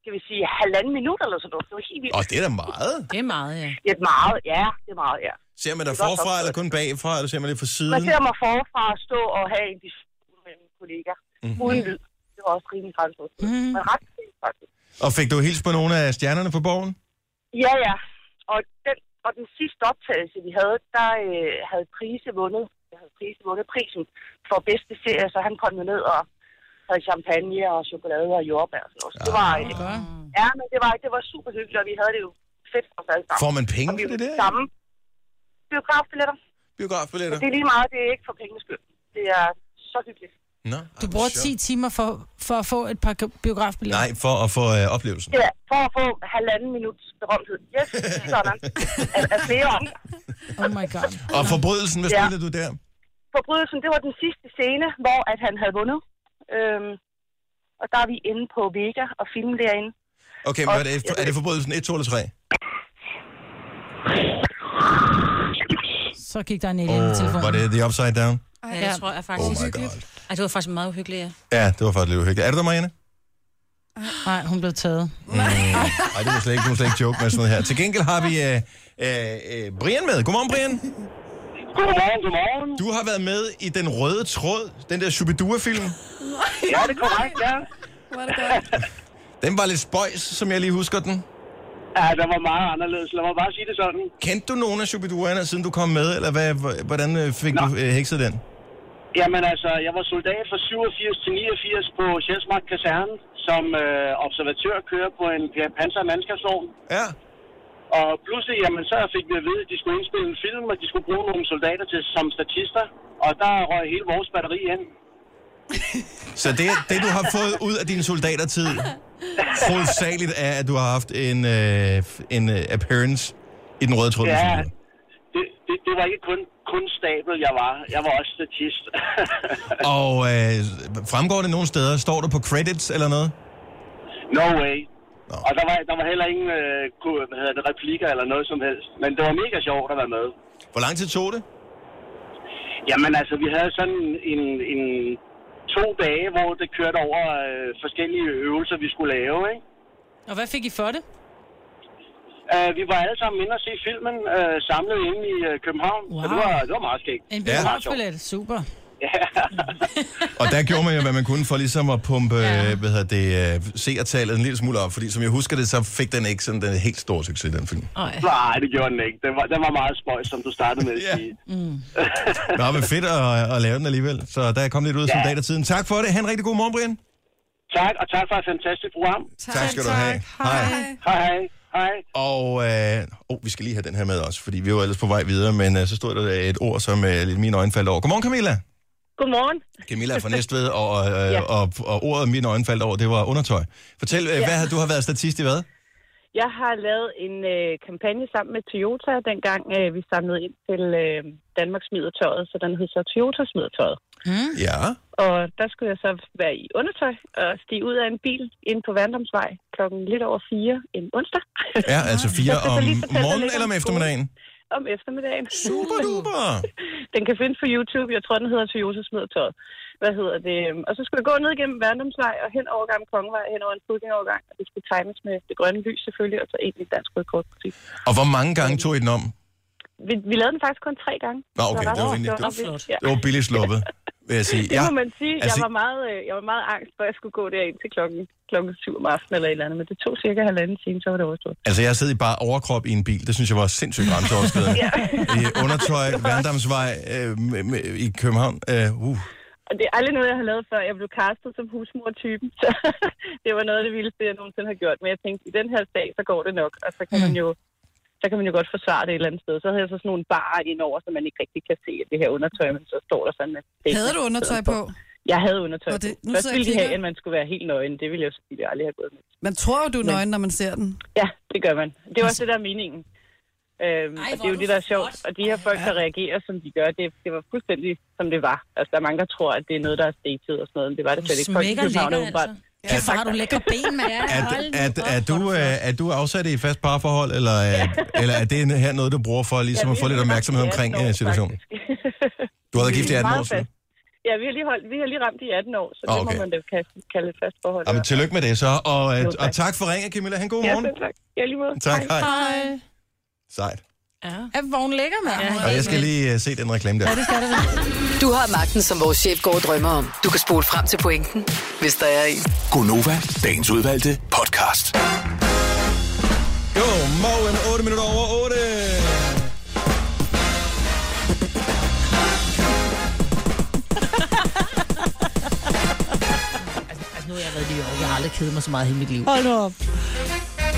S9: skal vi sige, halvanden minut eller sådan noget. Det var helt vildt.
S1: Og det er da meget.
S4: Det er meget, ja.
S9: Det er meget, ja, det er meget, ja.
S1: Ser man dig
S9: godt
S1: forfra
S9: opstået.
S1: eller kun bagfra, eller ser man det fra siden?
S9: Man ser mig forfra at stå og have en diskussion med en kollega. Mm-hmm. Uden lyd. Det var også rimelig grænseoverskridende. Mm-hmm. Men ret fint, faktisk.
S1: Og fik du hils på nogle af stjernerne på borgen?
S9: Ja, ja. Og den, og den sidste optagelse, vi havde, der øh, havde Prise vundet, jeg havde Prise vundet prisen for bedste serie, så han kom jo ned og havde champagne og chokolade og jordbær og sådan noget. Så det var,
S1: Ah.
S9: øh, ja, men det var, det var super hyggeligt, og vi havde det jo fedt for os alle sammen.
S1: Får man
S9: og
S1: penge
S9: vi
S1: for det
S9: var
S1: der?
S9: samme biografbilletter.
S1: Biografbilletter?
S9: Det er lige meget, det er ikke for pengenes skyld. Det er så hyggeligt.
S1: Nå,
S3: Du
S1: ej,
S3: bruger
S1: hvor
S3: 10
S1: sjovt.
S3: timer for, for at få et par biografbilletter.
S1: Nej, for at få øh, oplevelsen.
S9: Ja, for at få halvanden minuts berømthed. Yes, sådan. Af, af flere andre.
S3: Oh my god.
S1: *laughs* Og forbrydelsen, hvad
S9: Ja.
S1: spillede du der?
S9: Forbrydelsen, det var den sidste scene, hvor at han havde vundet. Øhm, og der er vi inde på Vega og filmen derinde.
S1: Okay, men er det, er det forbrydelsen 1, 2 eller 3?
S3: Så gik der en alien oh,
S1: Oh,
S3: i
S1: var
S3: telefonen.
S1: det The Upside Down?
S4: Ja, det tror jeg
S1: Oh
S4: faktisk.
S1: my god.
S4: Ej, det var faktisk meget uhyggeligt, ja.
S1: Ja, det var faktisk lidt uhyggeligt. Er du der, Marianne?
S3: Nej, hun blev taget.
S1: Nej, Mm. det må slet ikke, du må slet ikke joke med sådan noget her. Til gengæld har vi øh, øh, øh, Brian med. Godmorgen, Brian.
S8: Godmorgen, godmorgen.
S1: Du har været med i Den Røde Tråd, den der Shubidua-film.
S8: Ja, det er korrekt, ja.
S2: Hvor er det godt.
S1: Den var lidt spøjs, som jeg lige husker den.
S8: Ja, der var meget anderledes. Lad mig bare sige det sådan.
S1: Kendte du nogen af Shubiduaerne, siden du kom med, eller hvad, hvordan øh, fik Nå.
S8: Nå.
S1: du øh, hekset den?
S8: Jamen altså, jeg var soldat fra 87 til 89 på Sjælsmark Kaserne, som øh, observatør kører på en panser mandskabsvogn.
S1: Ja.
S8: Og pludselig, jamen, så fik vi at vide, at de skulle indspille en film, og de skulle bruge nogle soldater til, som statister. Og der røg hele vores batteri ind.
S1: Så det, det, du har fået ud af din soldatertid, hovedsageligt er, at du har haft en, øh, en øh, appearance i den røde tråd.
S8: Ja. Det, det, det var ikke kun kun stabel, jeg var. Jeg var også statist. *laughs*
S1: Og øh, fremgår det nogle steder? Står du på credits eller noget?
S8: no way. Og der var, der var heller ingen øh, ku- hvad hedder det, replikker eller noget som helst. Men det var mega sjovt at være med.
S1: Hvor lang tid tog det?
S8: Jamen altså, vi havde sådan en, en to dage, hvor det kørte over øh, forskellige øvelser, vi skulle lave, ikke?
S3: Og hvad fik I for det?
S8: Uh, vi var alle sammen inde og se filmen uh, samlet inde i uh, København, wow. så det
S3: Wow.
S8: var, det var meget skægt.
S3: En
S1: Ja.
S3: biografbillet. Super.
S1: Og der gjorde man jo, hvad man kunne for ligesom at pumpe ja. hvad hedder det, øh, seertallet en lille smule op, fordi som jeg husker det, så fik den ikke sådan den helt store succes, den film.
S8: Nej, det gjorde den ikke. Den var, den var meget spøjs, som du startede med at
S1: Ja.
S8: sige.
S1: Nå, men fedt at, at lave den alligevel. Så der kom lidt ud ja. som
S8: Ja.
S1: dag af tiden. Tak for det. Ha' en rigtig god morgen, Brian.
S8: Tak, og tak for et fantastisk program.
S1: Tak skal du have. Hej.
S8: Hej, hej. Hej.
S1: Og øh, oh, vi skal lige have den her med også, fordi vi var ellers på vej videre, men øh, så stod der et ord, som øh, lidt mine øjne faldt over. Godmorgen, Camilla.
S9: Godmorgen.
S1: Camilla er fra Næstved, og, øh,
S9: *laughs*
S1: ja. og, og ordet mine øjne faldt over, det var undertøj. Fortæl, øh, ja. hvad har- du har været statist i hvad?
S9: Jeg har lavet en øh, kampagne sammen med Toyota, dengang øh, vi samlede ind til øh, Danmark smider tøjet, så den hed så Toyota smider tøjet. Mm.
S1: Ja.
S9: Og der skulle jeg så være i undertøj og stige ud af en bil ind på Vandomsvej klokken lidt over fire en onsdag
S1: Ja, altså fire
S9: Jeg skal så
S1: om
S9: lige fortælle, der
S1: morgenen
S9: ligger
S1: eller om
S9: en skole.
S1: eftermiddagen.
S9: *laughs* om eftermiddagen.
S1: Super duper.
S9: *laughs* Den kan findes på YouTube. Jeg tror, den hedder Toyota smider tøjet. Hvad hedder det? Og så skulle jeg gå ned gennem Vandomsvej og hen over Gamle Kongevej, hen over en fodgængerovergang. Og det skulle times med det grønne lys selvfølgelig, og så egentlig dansk rekordmusik.
S1: Og hvor mange gange tog I den om?
S9: Vi, vi lavede den faktisk kun tre gange.
S1: Nå, okay,
S9: Så
S1: det var
S9: resten
S1: rimelig-
S9: gjort
S1: det
S4: var
S9: op i-
S4: flot.
S9: Ja.
S1: Det var billigt sluppet, vil jeg sige.
S9: *laughs* Det
S1: Ja.
S9: må man sige.
S1: altså-
S9: jeg, var meget, øh, jeg var meget angst, for at jeg skulle gå derind til klokken, klokken syv om aftenen eller et eller andet. Men det tog cirka halvanden time, så var det overstået.
S1: Altså, jeg sad i bare overkrop i en bil. Det synes jeg var sindssygt
S9: *laughs*
S1: grænseoverskridende. I undertøj, Værndamsvej øh, med- med- i København. Øh, uh.
S9: Og det er aldrig noget, jeg har lavet før. Jeg blev castet som husmor-typen, så *laughs* det var noget af det vildeste, jeg nogensinde har gjort. Men jeg tænkte, i den her sag, så går det nok, og så kan
S2: Mm.
S9: man jo så kan man jo godt forsvare det et eller andet sted. Så havde jeg så sådan nogle barer indover, så man ikke rigtig kan se, at det her undertøj, men så står der sådan... At
S2: Havde du undertøj på?
S9: Jeg havde undertøj
S2: Nå, det-
S9: på.
S2: nu
S9: Først
S2: sidder jeg
S9: ville
S2: og
S9: de have,
S2: kigger.
S9: at man skulle være helt nøgen. Det ville jeg jo selvfølgelig aldrig have gået med.
S2: Man tror jo, du er nøgen, når man ser den.
S9: Ja, det gør man. Det er også det, der er meningen. Øhm, Ej, og det er jo det, der er sjovt. Og de her folk, der reagerer, som de gør, det, det var fuldstændig, som det var. Altså, der er mange, der tror, at det er noget, der er stated og sådan noget, men det var det slet ikke. Folk i
S4: smækker
S9: København er
S4: lækker,
S9: åbenbart.
S4: altså.
S3: Ja, far, har du lækker ben, mand.
S1: Er, er, er, du, øh, er du afsat i et fast parforhold, eller, er, eller er det her noget, du bruger for
S9: altså.
S1: ligesom at få lidt opmærksomhed omkring øh, situationen? Du har været gift i 18 år siden.
S9: *laughs* Ja, vi har lige, holdt, vi har lige ramt i 18 år, så
S1: Ah,
S9: det
S1: okay.
S9: må man da kalde, kalde et fast forhold.
S1: Jamen, tillykke med det så, og, øh,
S9: Jo,
S1: og
S9: tak.
S1: tak for ringen, Camilla. Han god
S9: ja,
S1: morgen.
S9: selv tak. Ja, lige måde.
S1: Tak, hej.
S3: Hej.
S1: Sejt.
S3: Er vognen lækker, mand? Ja.
S1: Og jeg skal lige øh, se den reklame der.
S3: Det skal det vel.
S5: Du har magten, som vores chef går og drømmer om. Du kan spole frem til pointen, hvis der er en.
S6: Gonova, dagens udvalgte podcast.
S1: Godmorgen, 8 minutter over 8.
S10: Altså, nu har jeg været i New York. Jeg har aldrig kedet mig så meget i hele mit liv.
S3: Hold nu op.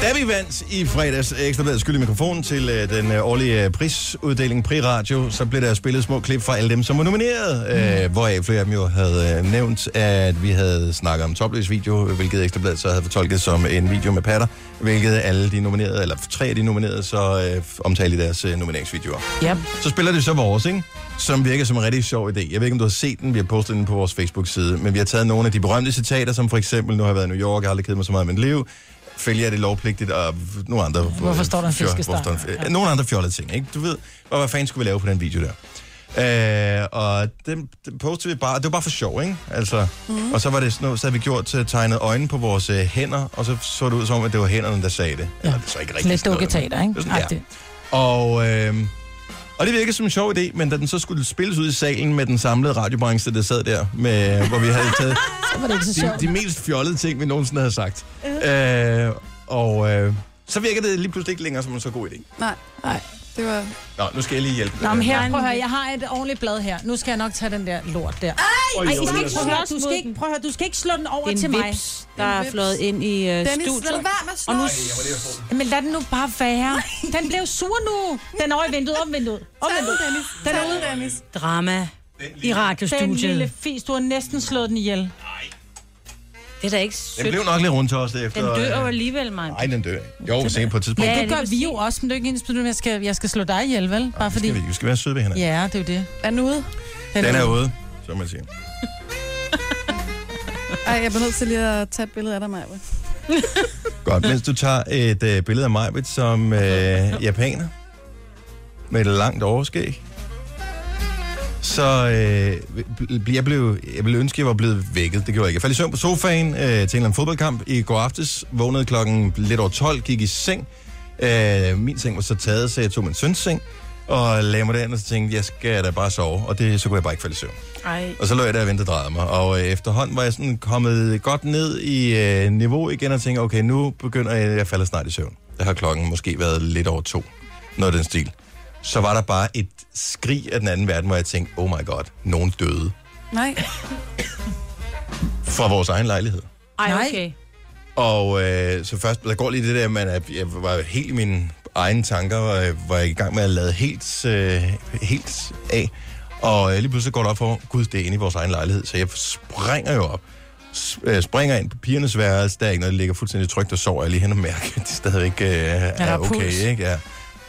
S1: Da vi vandt i fredags ekstrabladet skyld i mikrofonen til øh, den øh, årlige øh, prisuddeling Pri Radio, så blev der spillet små klip fra alle dem, som var nomineret, øh, hvoraf flere af dem jo havde øh, nævnt, at vi havde snakket om topløs video, øh, hvilket ekstrabladet så havde fortolket som en video med patter, hvilket alle de nominerede, eller tre af de nominerede, så øh, omtalte i deres øh, nomineringsvideoer.
S10: Ja.
S1: Så spiller det så vores, ikke? Som virker som en rigtig sjov idé. Jeg ved ikke, om du har set den. Vi har postet den på vores Facebook-side. Men vi har taget nogle af de berømte citater, som for eksempel, nu har jeg været i New York, jeg har aldrig kedet mig så meget i mit liv. Følger er det lovpligtigt, og nogle andre... øh,
S3: Hvorfor står der en
S1: fjol-
S3: fiskestang?
S1: hvorfor står der en fi- Nogle andre fjollede ting, ikke? Du ved, og hvad fanden skulle vi lave på den video der? Øh, og den, den postede vi bare, det var bare for sjov, ikke? Altså, mm.
S3: Mhm.
S1: Og så var det sådan noget, så havde vi gjort øh, tegnet øjne på vores øh, hænder, og så så det ud som om, at det var hænderne, der sagde det. Ja. Eller det er så ikke rigtigt.
S3: Lidt
S1: sådan noget, men-
S3: dukketeater, ikke?
S1: Det er sådan, ja.
S3: Agtigt.
S1: Og, øh, og det virkede som en sjov idé, men da den så skulle spilles ud i salen med den samlede radiobranche, der sad der, med, hvor vi havde
S3: *laughs*
S1: taget
S3: Så var det ikke så sjovt.
S1: de, de mest fjollede ting, vi nogensinde havde sagt. Øh, og øh, så virkede det lige pludselig ikke længere som en så god idé.
S2: Nej,
S3: Nej.
S2: det var...
S1: Nå, nu skal jeg lige hjælpe.
S3: Nå, men her, prøv at høre, jeg har et ordentligt blad her. Nu skal jeg nok tage den der lort der. Ej, Ej I skal ikke, prøv at høre, du skal ikke, prøv at høre, du skal ikke slå den over
S4: En
S3: til mig.
S4: vips, der er fløjet ind i uh,
S2: Dennis, lad
S4: studiet.
S2: være med at slå.
S4: Og nu
S3: Men lad den nu bare være. Den blev sur nu. Den er over i vinduet, om vinduet. Om
S2: Tag den,
S3: vinduet.
S2: Dennis.
S3: Den
S2: Tag
S3: er ude.
S2: Dennis.
S4: drama i
S3: Den lille
S4: radiostudiet.
S3: fis, du har næsten slået den ihjel.
S4: Det er da ikke
S1: Den
S4: sødt.
S1: blev nok lidt rundt også efter...
S4: Den dør
S3: øh,
S4: jo alligevel, mig.
S1: Nej, den dør ikke. Jo, sikkert på et tidspunkt.
S3: Ja, det gør vi jo også, men det er jo ikke ens betydning, at jeg skal, jeg skal slå dig ihjel, vel? Bare fordi...
S1: Skal vi, vi skal være søde ved hinanden.
S3: Ja, det er jo det.
S2: Er den ude?
S1: Den er ude, som man siger.
S2: Ej, jeg bliver nødt til lige at tage et billede af dig, Maja.
S1: Godt, mens du tager et øh, billede af mig som øh, japaner med et langt overskæg, så øh, bl- jeg, blev, jeg blev ønske, at jeg var blevet vækket. Det gjorde jeg ikke. Jeg faldt i søvn på sofaen øh, til en eller anden fodboldkamp i går aftes. Vågnede klokken lidt over 12, gik i seng. Øh, min seng var så taget, så jeg tog min søns seng og lagde mig derinde, og så tænkte jeg, skal da bare sove. Og det, så kunne jeg bare ikke falde i søvn.
S4: Ej.
S1: Og så lå jeg der og ventede og drejede mig. Og øh, efterhånden var jeg sådan kommet godt ned i øh, niveau igen og tænkte, okay, nu begynder jeg, jeg falder snart i søvn. Der har klokken måske været lidt over to. Noget af den stil. Så var der bare et skrig af den anden verden, hvor jeg tænkte, oh my god, nogen døde
S2: Nej.
S1: fra vores egen lejlighed.
S4: Ej, okay.
S1: Og øh, så først, der går lige det der, man, at jeg var helt i mine egne tanker, og øh, var i gang med at lade helt, øh, helt af. Og øh, lige pludselig går det op for, mig, gud, det er inde i vores egen lejlighed, så jeg springer jo op. S- øh, springer ind på pigernes værelse, der er ikke noget, der ligger fuldstændig trygt, og sover jeg lige hen og mærker, at det stadigvæk øh, er,
S3: der er
S1: er okay.
S3: puls?
S1: Ikke? Ja.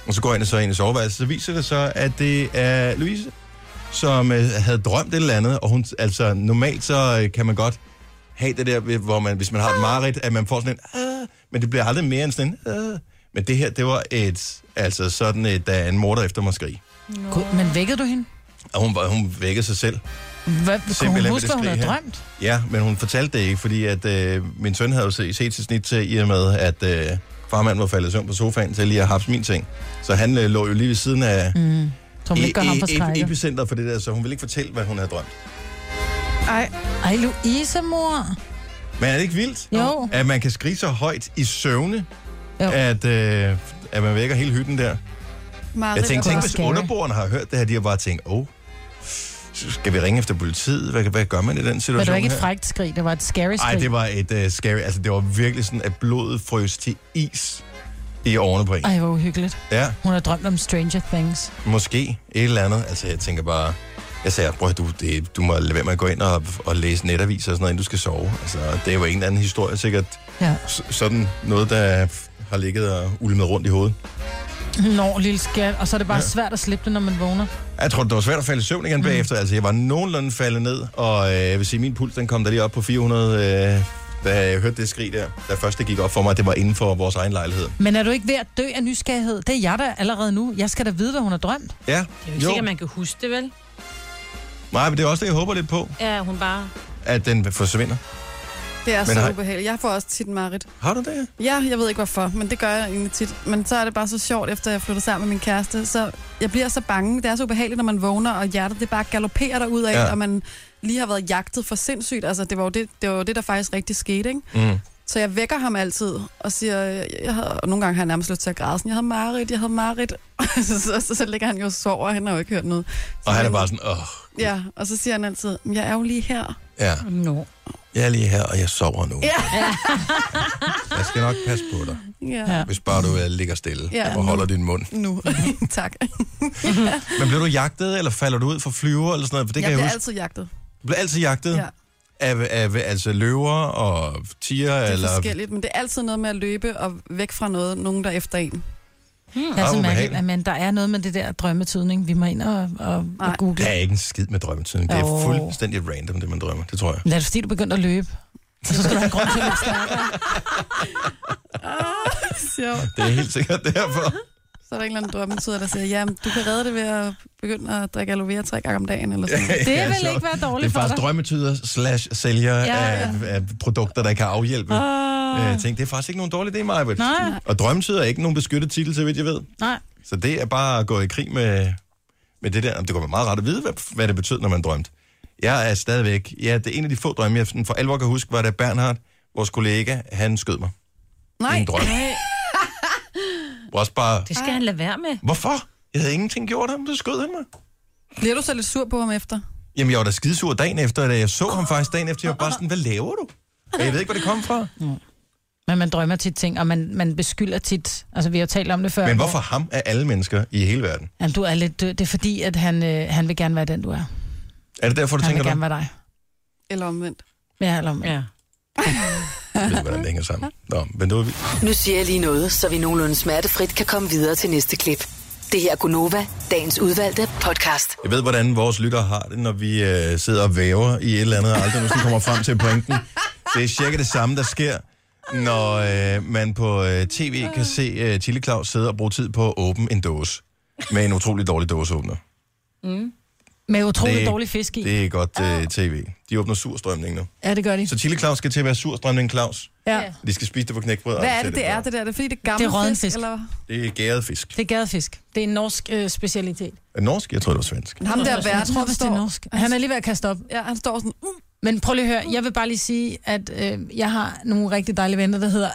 S1: Og så går jeg ind og så ind i soveværelset, så viser det så, at det er Louise, som øh, havde drømt et eller andet, og hun, altså normalt så øh, kan man godt have det der, ved- hvor man, hvis man har et mareridt, at man får sådan en, "Ah", men det bliver aldrig mere end sådan en, "Ah". men det her, det var et, altså sådan et, der er en morder efter mig skrig.
S3: Gud, men vækkede du hende?
S1: Og hun, var, hun vækkede sig selv.
S3: Hvad, kunne
S1: Simpelthen
S3: hun
S1: med
S3: huske,
S1: det
S3: hvad hun havde
S1: skrig her.
S3: drømt?
S1: Ja, men hun fortalte det ikke, fordi at øh, min søn havde jo set, set sit snit til, i og med, at øh, farmand var faldet i søvn på sofaen til lige at hapse min ting. Så han øh, lå jo lige ved siden af
S3: Mm. Så hun vil ikke gøre ham for
S1: e-
S3: skrækket.
S1: epicenteret for det der, så hun ville ikke fortælle, hvad hun havde drømt.
S2: Ej.
S3: Ej, Louise, mor.
S1: Men er det ikke vildt,
S3: Jo.
S1: at man kan skrige så højt i søvne,
S3: Jo.
S1: at, øh, at man vækker hele hytten der?
S2: Marit
S3: Altså,
S1: Jeg tænkte,
S2: og-
S1: tænk, hvis
S3: scary.
S1: underboerne har hørt det her, de har bare tænkt, åh, oh, skal vi ringe efter politiet? Hvad, hvad gør man i den
S3: Men det
S1: situation
S3: var ikke et
S1: her?
S3: frækt skrig, det var et scary skrig.
S1: Nej, det var et uh, scary. Altså, det var virkelig sådan, at blodet frøs til is i årene på en.
S3: Ej, hvor uhyggeligt.
S1: Ja,
S3: Hun har drømt om Stranger Things.
S1: måske et eller andet. Altså, jeg tænker bare... Jeg sagde, bror, du, det, du må lade være med at gå ind og, og læse netaviser og sådan noget, inden du skal sove. Altså, det er jo en eller anden historie, sikkert
S3: Ja.
S1: s- sådan noget, der har ligget og ulmet rundt i hovedet.
S3: Nå, lille skat. Og så er det bare ja. svært at slippe det, når man vågner.
S1: Jeg tror, det var svært at falde i søvn igen mm. bagefter. Altså, jeg var nogenlunde faldet ned, og øh, jeg vil sige, min puls, den kom da lige op på 400, øh, da jeg hørte det skrig der. Da først det gik op for mig, at det var inden for vores egen lejlighed.
S3: Men er du ikke ved at dø af nysgerrighed? Det er jeg da allerede nu. Jeg skal da vide, hvad hun har drømt.
S1: Ja,
S4: Det er jo ikke sikkert, man kan huske det, vel?
S1: Nej, men det er også det, jeg håber lidt på,
S4: Ja, hun bare...
S1: at den forsvinder.
S2: Det er
S1: Men
S2: så
S1: har-
S2: ubehageligt. Jeg får også tit Marit.
S1: Har du det?
S2: Ja, jeg ved ikke hvorfor, men det gør jeg egentlig tit. Men så er det bare så sjovt, efter jeg flyttede sammen med min kæreste. Så jeg bliver så bange. Det er så ubehageligt, når man vågner, og hjertet det bare galopperer dig ud af,
S1: Ja.
S2: ja. og man lige har været jagtet for sindssygt. Altså, det var jo det, det, var jo det der faktisk rigtig skete, ikke?
S1: Mm.
S2: Så jeg vækker ham altid og siger, jeg havde, og nogle gange har jeg nærmest lyst til at græde, sådan, jeg havde mareridt, jeg havde mareridt. *laughs* så, så, så, så ligger han jo og sover, og han har jo ikke hørt noget. Så
S1: Og han er
S2: siger
S1: bare sådan, åh,
S2: Ja, og så siger han altid, "Men jeg er jo lige her.
S1: ja,
S4: Nå.
S1: jeg er lige her, og jeg sover nu. Ja. jeg skal nok passe på dig,
S2: Ja,
S3: Ja.
S2: ja.
S1: hvis bare du øh, ligger stille
S2: Ja.
S1: og holder din mund.
S2: nu. *laughs* tak.
S1: Men bliver du jagtet, eller falder du ud fra flyver, eller sådan noget? For det
S2: jeg
S1: kan jeg
S2: bliver
S1: huske.
S2: altid jagtet.
S1: Du bliver altid jagtet
S2: Ja.
S1: af, af, altså løver og tiger,
S2: Det er
S1: eller...
S2: forskelligt, men det er altid noget med at løbe og væk fra noget, nogen der er efter en.
S3: Det er
S1: Ah,
S3: så mærkeligt,
S1: ubehageligt.
S3: at man, der er noget med det der drømmetydning. Vi må ind og, og, og
S2: Nej.
S3: google.
S1: Der er ikke en skid med drømmetydning. Det er
S3: Jo.
S1: fuldstændig random, det man drømmer. Det tror jeg.
S3: Lad os sige, du begyndte at løbe. Og så skal du have en grund til at løbe stærkere.
S2: Sjovt.
S1: Det er helt sikkert
S3: *laughs*
S1: derfor.
S2: Så er der en eller anden drømmetyder, der siger, jamen, du kan redde det ved at begynde at drikke aloe vera tre gange om dagen, eller sådan
S1: *laughs*
S2: noget.
S3: Det
S1: Ja,
S3: vil
S1: så-
S3: ikke være
S1: Det er
S3: dårligt for
S1: faktisk
S3: dig.
S1: drømmetyder slash sælger ja,
S3: Ja,
S1: ja.
S3: ja.
S1: Af, af produkter, der kan afhjælpe.
S3: Åh.
S1: Jeg tænkte, det er faktisk ikke nogen dårlig idé, Majbet.
S3: Nej,
S1: Og drømmetyder er ikke nogen beskyttet titel, så vidt jeg ved.
S3: nej.
S1: Så det er bare at gå i krig med, med det der. Det kunne være meget rart at vide, hvad, hvad det betød, når man drømte. Jeg er stadigvæk... Ja, det er en af de få drømme, jeg sådan for alvor kan huske, var da Bernhard, vores kollega, han skød mig.
S2: Nej,
S1: En drøm. Også bare...
S4: Det skal han lade være med.
S1: Hvorfor? Jeg havde ingenting gjort ham, så skød han mig.
S2: bliver du så lidt sur på ham efter?
S1: Jamen, jeg var da skidesur dagen efter, da jeg så ham faktisk dagen efter. Jeg var bare sådan, hvad laver du? Og jeg ved ikke, hvor det kom fra.
S3: Mm. Men man drømmer tit ting, og man, man beskylder tit. Altså, vi har jo talt om det før.
S1: Men hvorfor ham af alle mennesker i hele verden?
S3: Jamen, du er lidt død. Det er fordi, at han, øh, han vil gerne være den, du er.
S1: Er det derfor, du
S3: Han vil
S1: tænker
S3: gerne
S1: det?
S3: være dig.
S2: Eller omvendt?
S3: Ja, eller, ja.
S4: Ja.
S1: Jeg ved, hvordan det hænger sammen. Nå, men det var vildt.
S5: Nu siger jeg lige noget, så vi nogenlunde smertefrit kan komme videre til næste klip. Det her er Gunova, dagens udvalgte podcast.
S1: Jeg ved, hvordan vores lytter har det, når vi øh, sidder og væver i et eller andet, og aldrig nogensinde kommer frem til pointen. Det er cirka det samme, der sker, når øh, man på øh, tv kan se øh, Chili Claus sidde og bruge tid på at åbne en dåse med en utrolig dårlig dåseåbner.
S3: Mm. Med utrolig
S1: Det-
S3: dårlig fisk i. Det.
S1: Det er godt øh, tv. De åbner surstrømning nu.
S3: Ja, det gør de.
S1: Så Chili Claus skal til at være surstrømning Claus.
S3: Ja.
S1: De skal spise det på knækbrød. og
S2: Hvad er
S1: alt
S2: det,
S1: til
S2: det er, det der? Det er fordi, det er gammel
S3: Det er rådden fisk.
S2: Eller?
S1: Det er gæret fisk.
S3: Det er gadefisk. Det er en norsk øh, specialitet.
S1: Er det norsk? Jeg tror, det var svensk.
S2: Ham der
S3: jeg
S2: verden,
S3: tror,
S2: han
S3: hvis det er
S2: står-
S3: norsk. Han er lige ved at kaste op.
S2: Ja, han står sådan... Mm.
S3: Men prøv lige at høre, jeg vil bare lige sige, at øh, jeg har nogle rigtig dejlige venner, der hedder...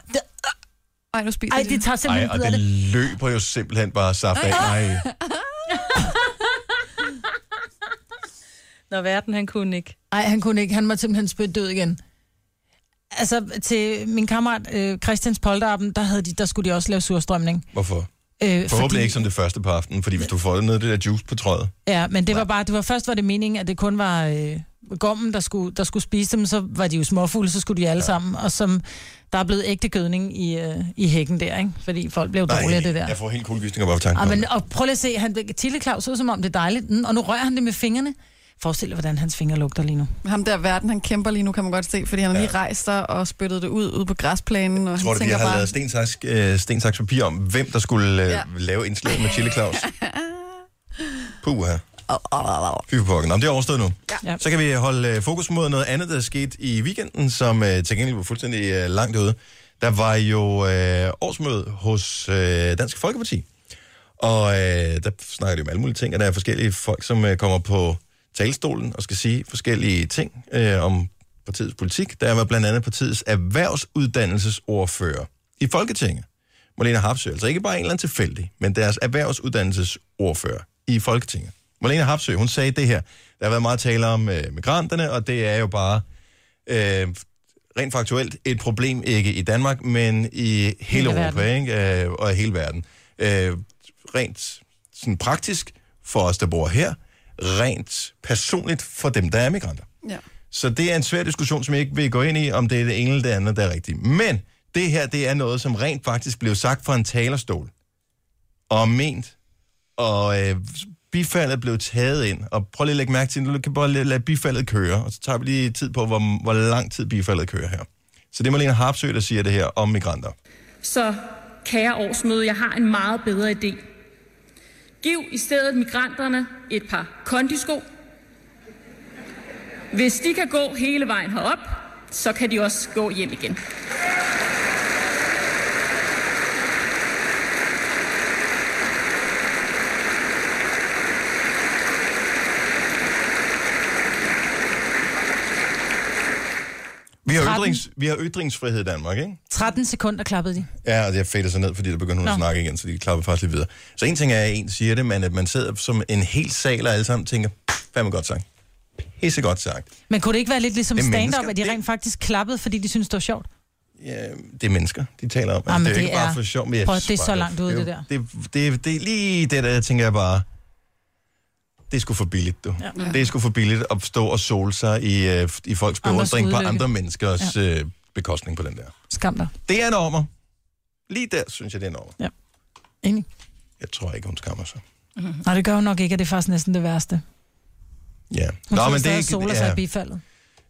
S2: Ej, nu spiser
S3: Ej,
S2: de
S3: de
S2: det.
S3: tager
S1: Ej,
S3: simpelthen
S1: og
S3: bid af
S1: det
S3: det.
S1: løber jo simpelthen bare saft af. Ej.
S4: Når verden, han kunne ikke.
S3: Nej, han kunne ikke. Han måtte simpelthen spytte død igen. Altså, til min kammerat øh, Christians Polterappen, der, havde de, der skulle de også lave surstrømning.
S1: Hvorfor?
S3: Øh,
S1: Forhåbentlig
S3: fordi-
S1: ikke som det første på aftenen, fordi hvis du får noget af det der juice på trøjet,
S3: Ja, men det var bare, det var først var det meningen, at det kun var øh, gommen, der skulle, der skulle spise dem, så var de jo småfulde, så skulle de alle ja. sammen, og som der er blevet ægte gødning i, øh, i hækken der, ikke? fordi folk blev dårlige af det der.
S1: jeg får helt kuldegysninger bare på tanken.
S3: Ja,
S1: om
S3: men,
S1: det.
S3: og prøv lige at se, han, Tille Claus ud som om det er dejligt, mm, og nu rører han det med fingrene. Forestil dig, hvordan hans fingre lugter lige nu.
S2: Ham der verden, han kæmper lige nu, kan man godt se, fordi han har lige rejst sig og spyttet det ud ude på græsplænen, og
S1: Jeg tror,
S2: han
S1: det vi
S2: tænker
S1: har
S2: bare...
S1: lavet stensaks, øh, stensaks papir om, hvem der skulle øh,
S2: Ja.
S1: lave indslag med Chili
S2: *laughs*
S1: Claus. Puh, her. Fy for pokken. Nå, men det er overstået nu.
S3: Ja.
S1: Så kan vi holde øh, fokus mod noget andet, der skete i weekenden, som øh, til gengæld var fuldstændig øh, langt ude. Der var jo øh, årsmøde hos øh, Dansk Folkeparti. Og øh, der snakker de om alle mulige ting, og der er forskellige folk, som øh, kommer på talestolen og skal sige forskellige ting øh, om partiets politik. Der var blandt andet partiets erhvervsuddannelsesordfører i Folketinget. Marlene Harpsø, altså ikke bare en eller anden tilfældig, men deres erhvervsuddannelsesordfører i Folketinget. Marlene Harpsø, hun sagde det her. Der har været meget tale om øh, migranterne, og det er jo bare øh, rent faktuelt et problem, ikke i Danmark, men i hele, hele Europa ikke? Øh, og i hele verden. Øh, rent sådan praktisk for os, der bor her, rent personligt for dem, der er migranter.
S2: Ja.
S1: Så det er en svær diskussion, som jeg ikke vil gå ind i, om det er det ene eller det andet, der er rigtigt. Men det her, det er noget, som rent faktisk blev sagt fra en talerstol. Og ment. Og øh, bifaldet blev taget ind. Og prøv lige at lægge mærke til, du kan bare lade lade bifaldet køre. Og så tager vi lige tid på, hvor, hvor lang tid bifaldet kører her. Så det er Marlene Harpsø, der siger det her om migranter.
S11: Så kære årsmøde, jeg har en meget bedre idé. Giv i stedet migranterne et par kondisko. Hvis de kan gå hele vejen herop, så kan de også gå hjem igen.
S1: Vi har,
S3: Tretten.
S1: ytrings, vi har ytringsfrihed i Danmark, ikke?
S3: 13 sekunder klappede de.
S1: Ja, og jeg fader sig ned, fordi der begynder hun Nå. at
S3: Nå.
S1: snakke igen, så de klapper faktisk lidt videre. Så en ting er, at en siger det, men at man sidder som en hel sal og alle sammen tænker, fandme godt sagt. Pisse godt sagt.
S3: Men kunne det ikke være lidt ligesom
S1: Det er
S3: stand-up,
S1: mennesker.
S3: at de rent faktisk klappede, fordi de synes det var sjovt?
S1: Ja, det er mennesker, de taler om. Altså,
S3: Ah, men
S1: det er jo
S3: det
S1: ikke bare
S3: er-
S1: for sjov, men jeg
S3: Prøv at- det er
S1: synes
S3: så
S1: bare,
S3: langt ude,
S1: er jo-
S3: det der.
S1: Det, det, det er lige det, der jeg tænker jeg bare, det er sgu for billigt, du. Ja. Det er sgu for billigt at stå og sole sig i, øh, i folks
S3: Andres
S1: beundring på
S3: udlykke.
S1: andre menneskers ja. øh, bekostning på den der.
S3: Skam dig.
S1: Det er en ormer. Lige der synes jeg, det er en ormer.
S3: Ja. Enig.
S1: Jeg tror ikke, hun skammer sig.
S3: Nej, det gør hun nok ikke, og det er faktisk næsten det værste.
S1: Ja.
S3: Hun Nå, men det er ikke... soler sig i bifaldet.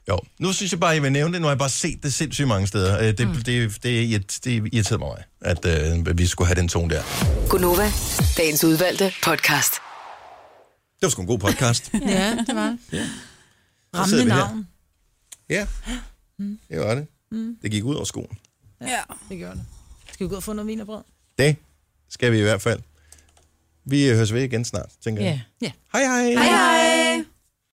S1: Jo, nu synes jeg bare, jeg vil nævne det. Nu har jeg bare set det sindssygt mange steder. Øh, Det, mm. det, det, det, irrit- det irriterede mig, at, øh, at vi skulle have den tone der. Det
S5: Gunova, dagens udvalgte podcast.
S1: var sgu en god
S3: *laughs*
S1: podcast.
S3: Ja, det var
S1: Ja. sidder
S3: Ramme
S1: vi her.
S3: navn.
S1: ja, det var det. Mm. Det gik ud over skoen.
S2: Ja,
S3: det gjorde det. Skal vi gå og få noget vin og brød?
S1: Det skal vi i hvert fald. Vi øh, høres ved igen snart, tænker jeg.
S3: Ja.
S1: Hej hej!
S3: Hej hej!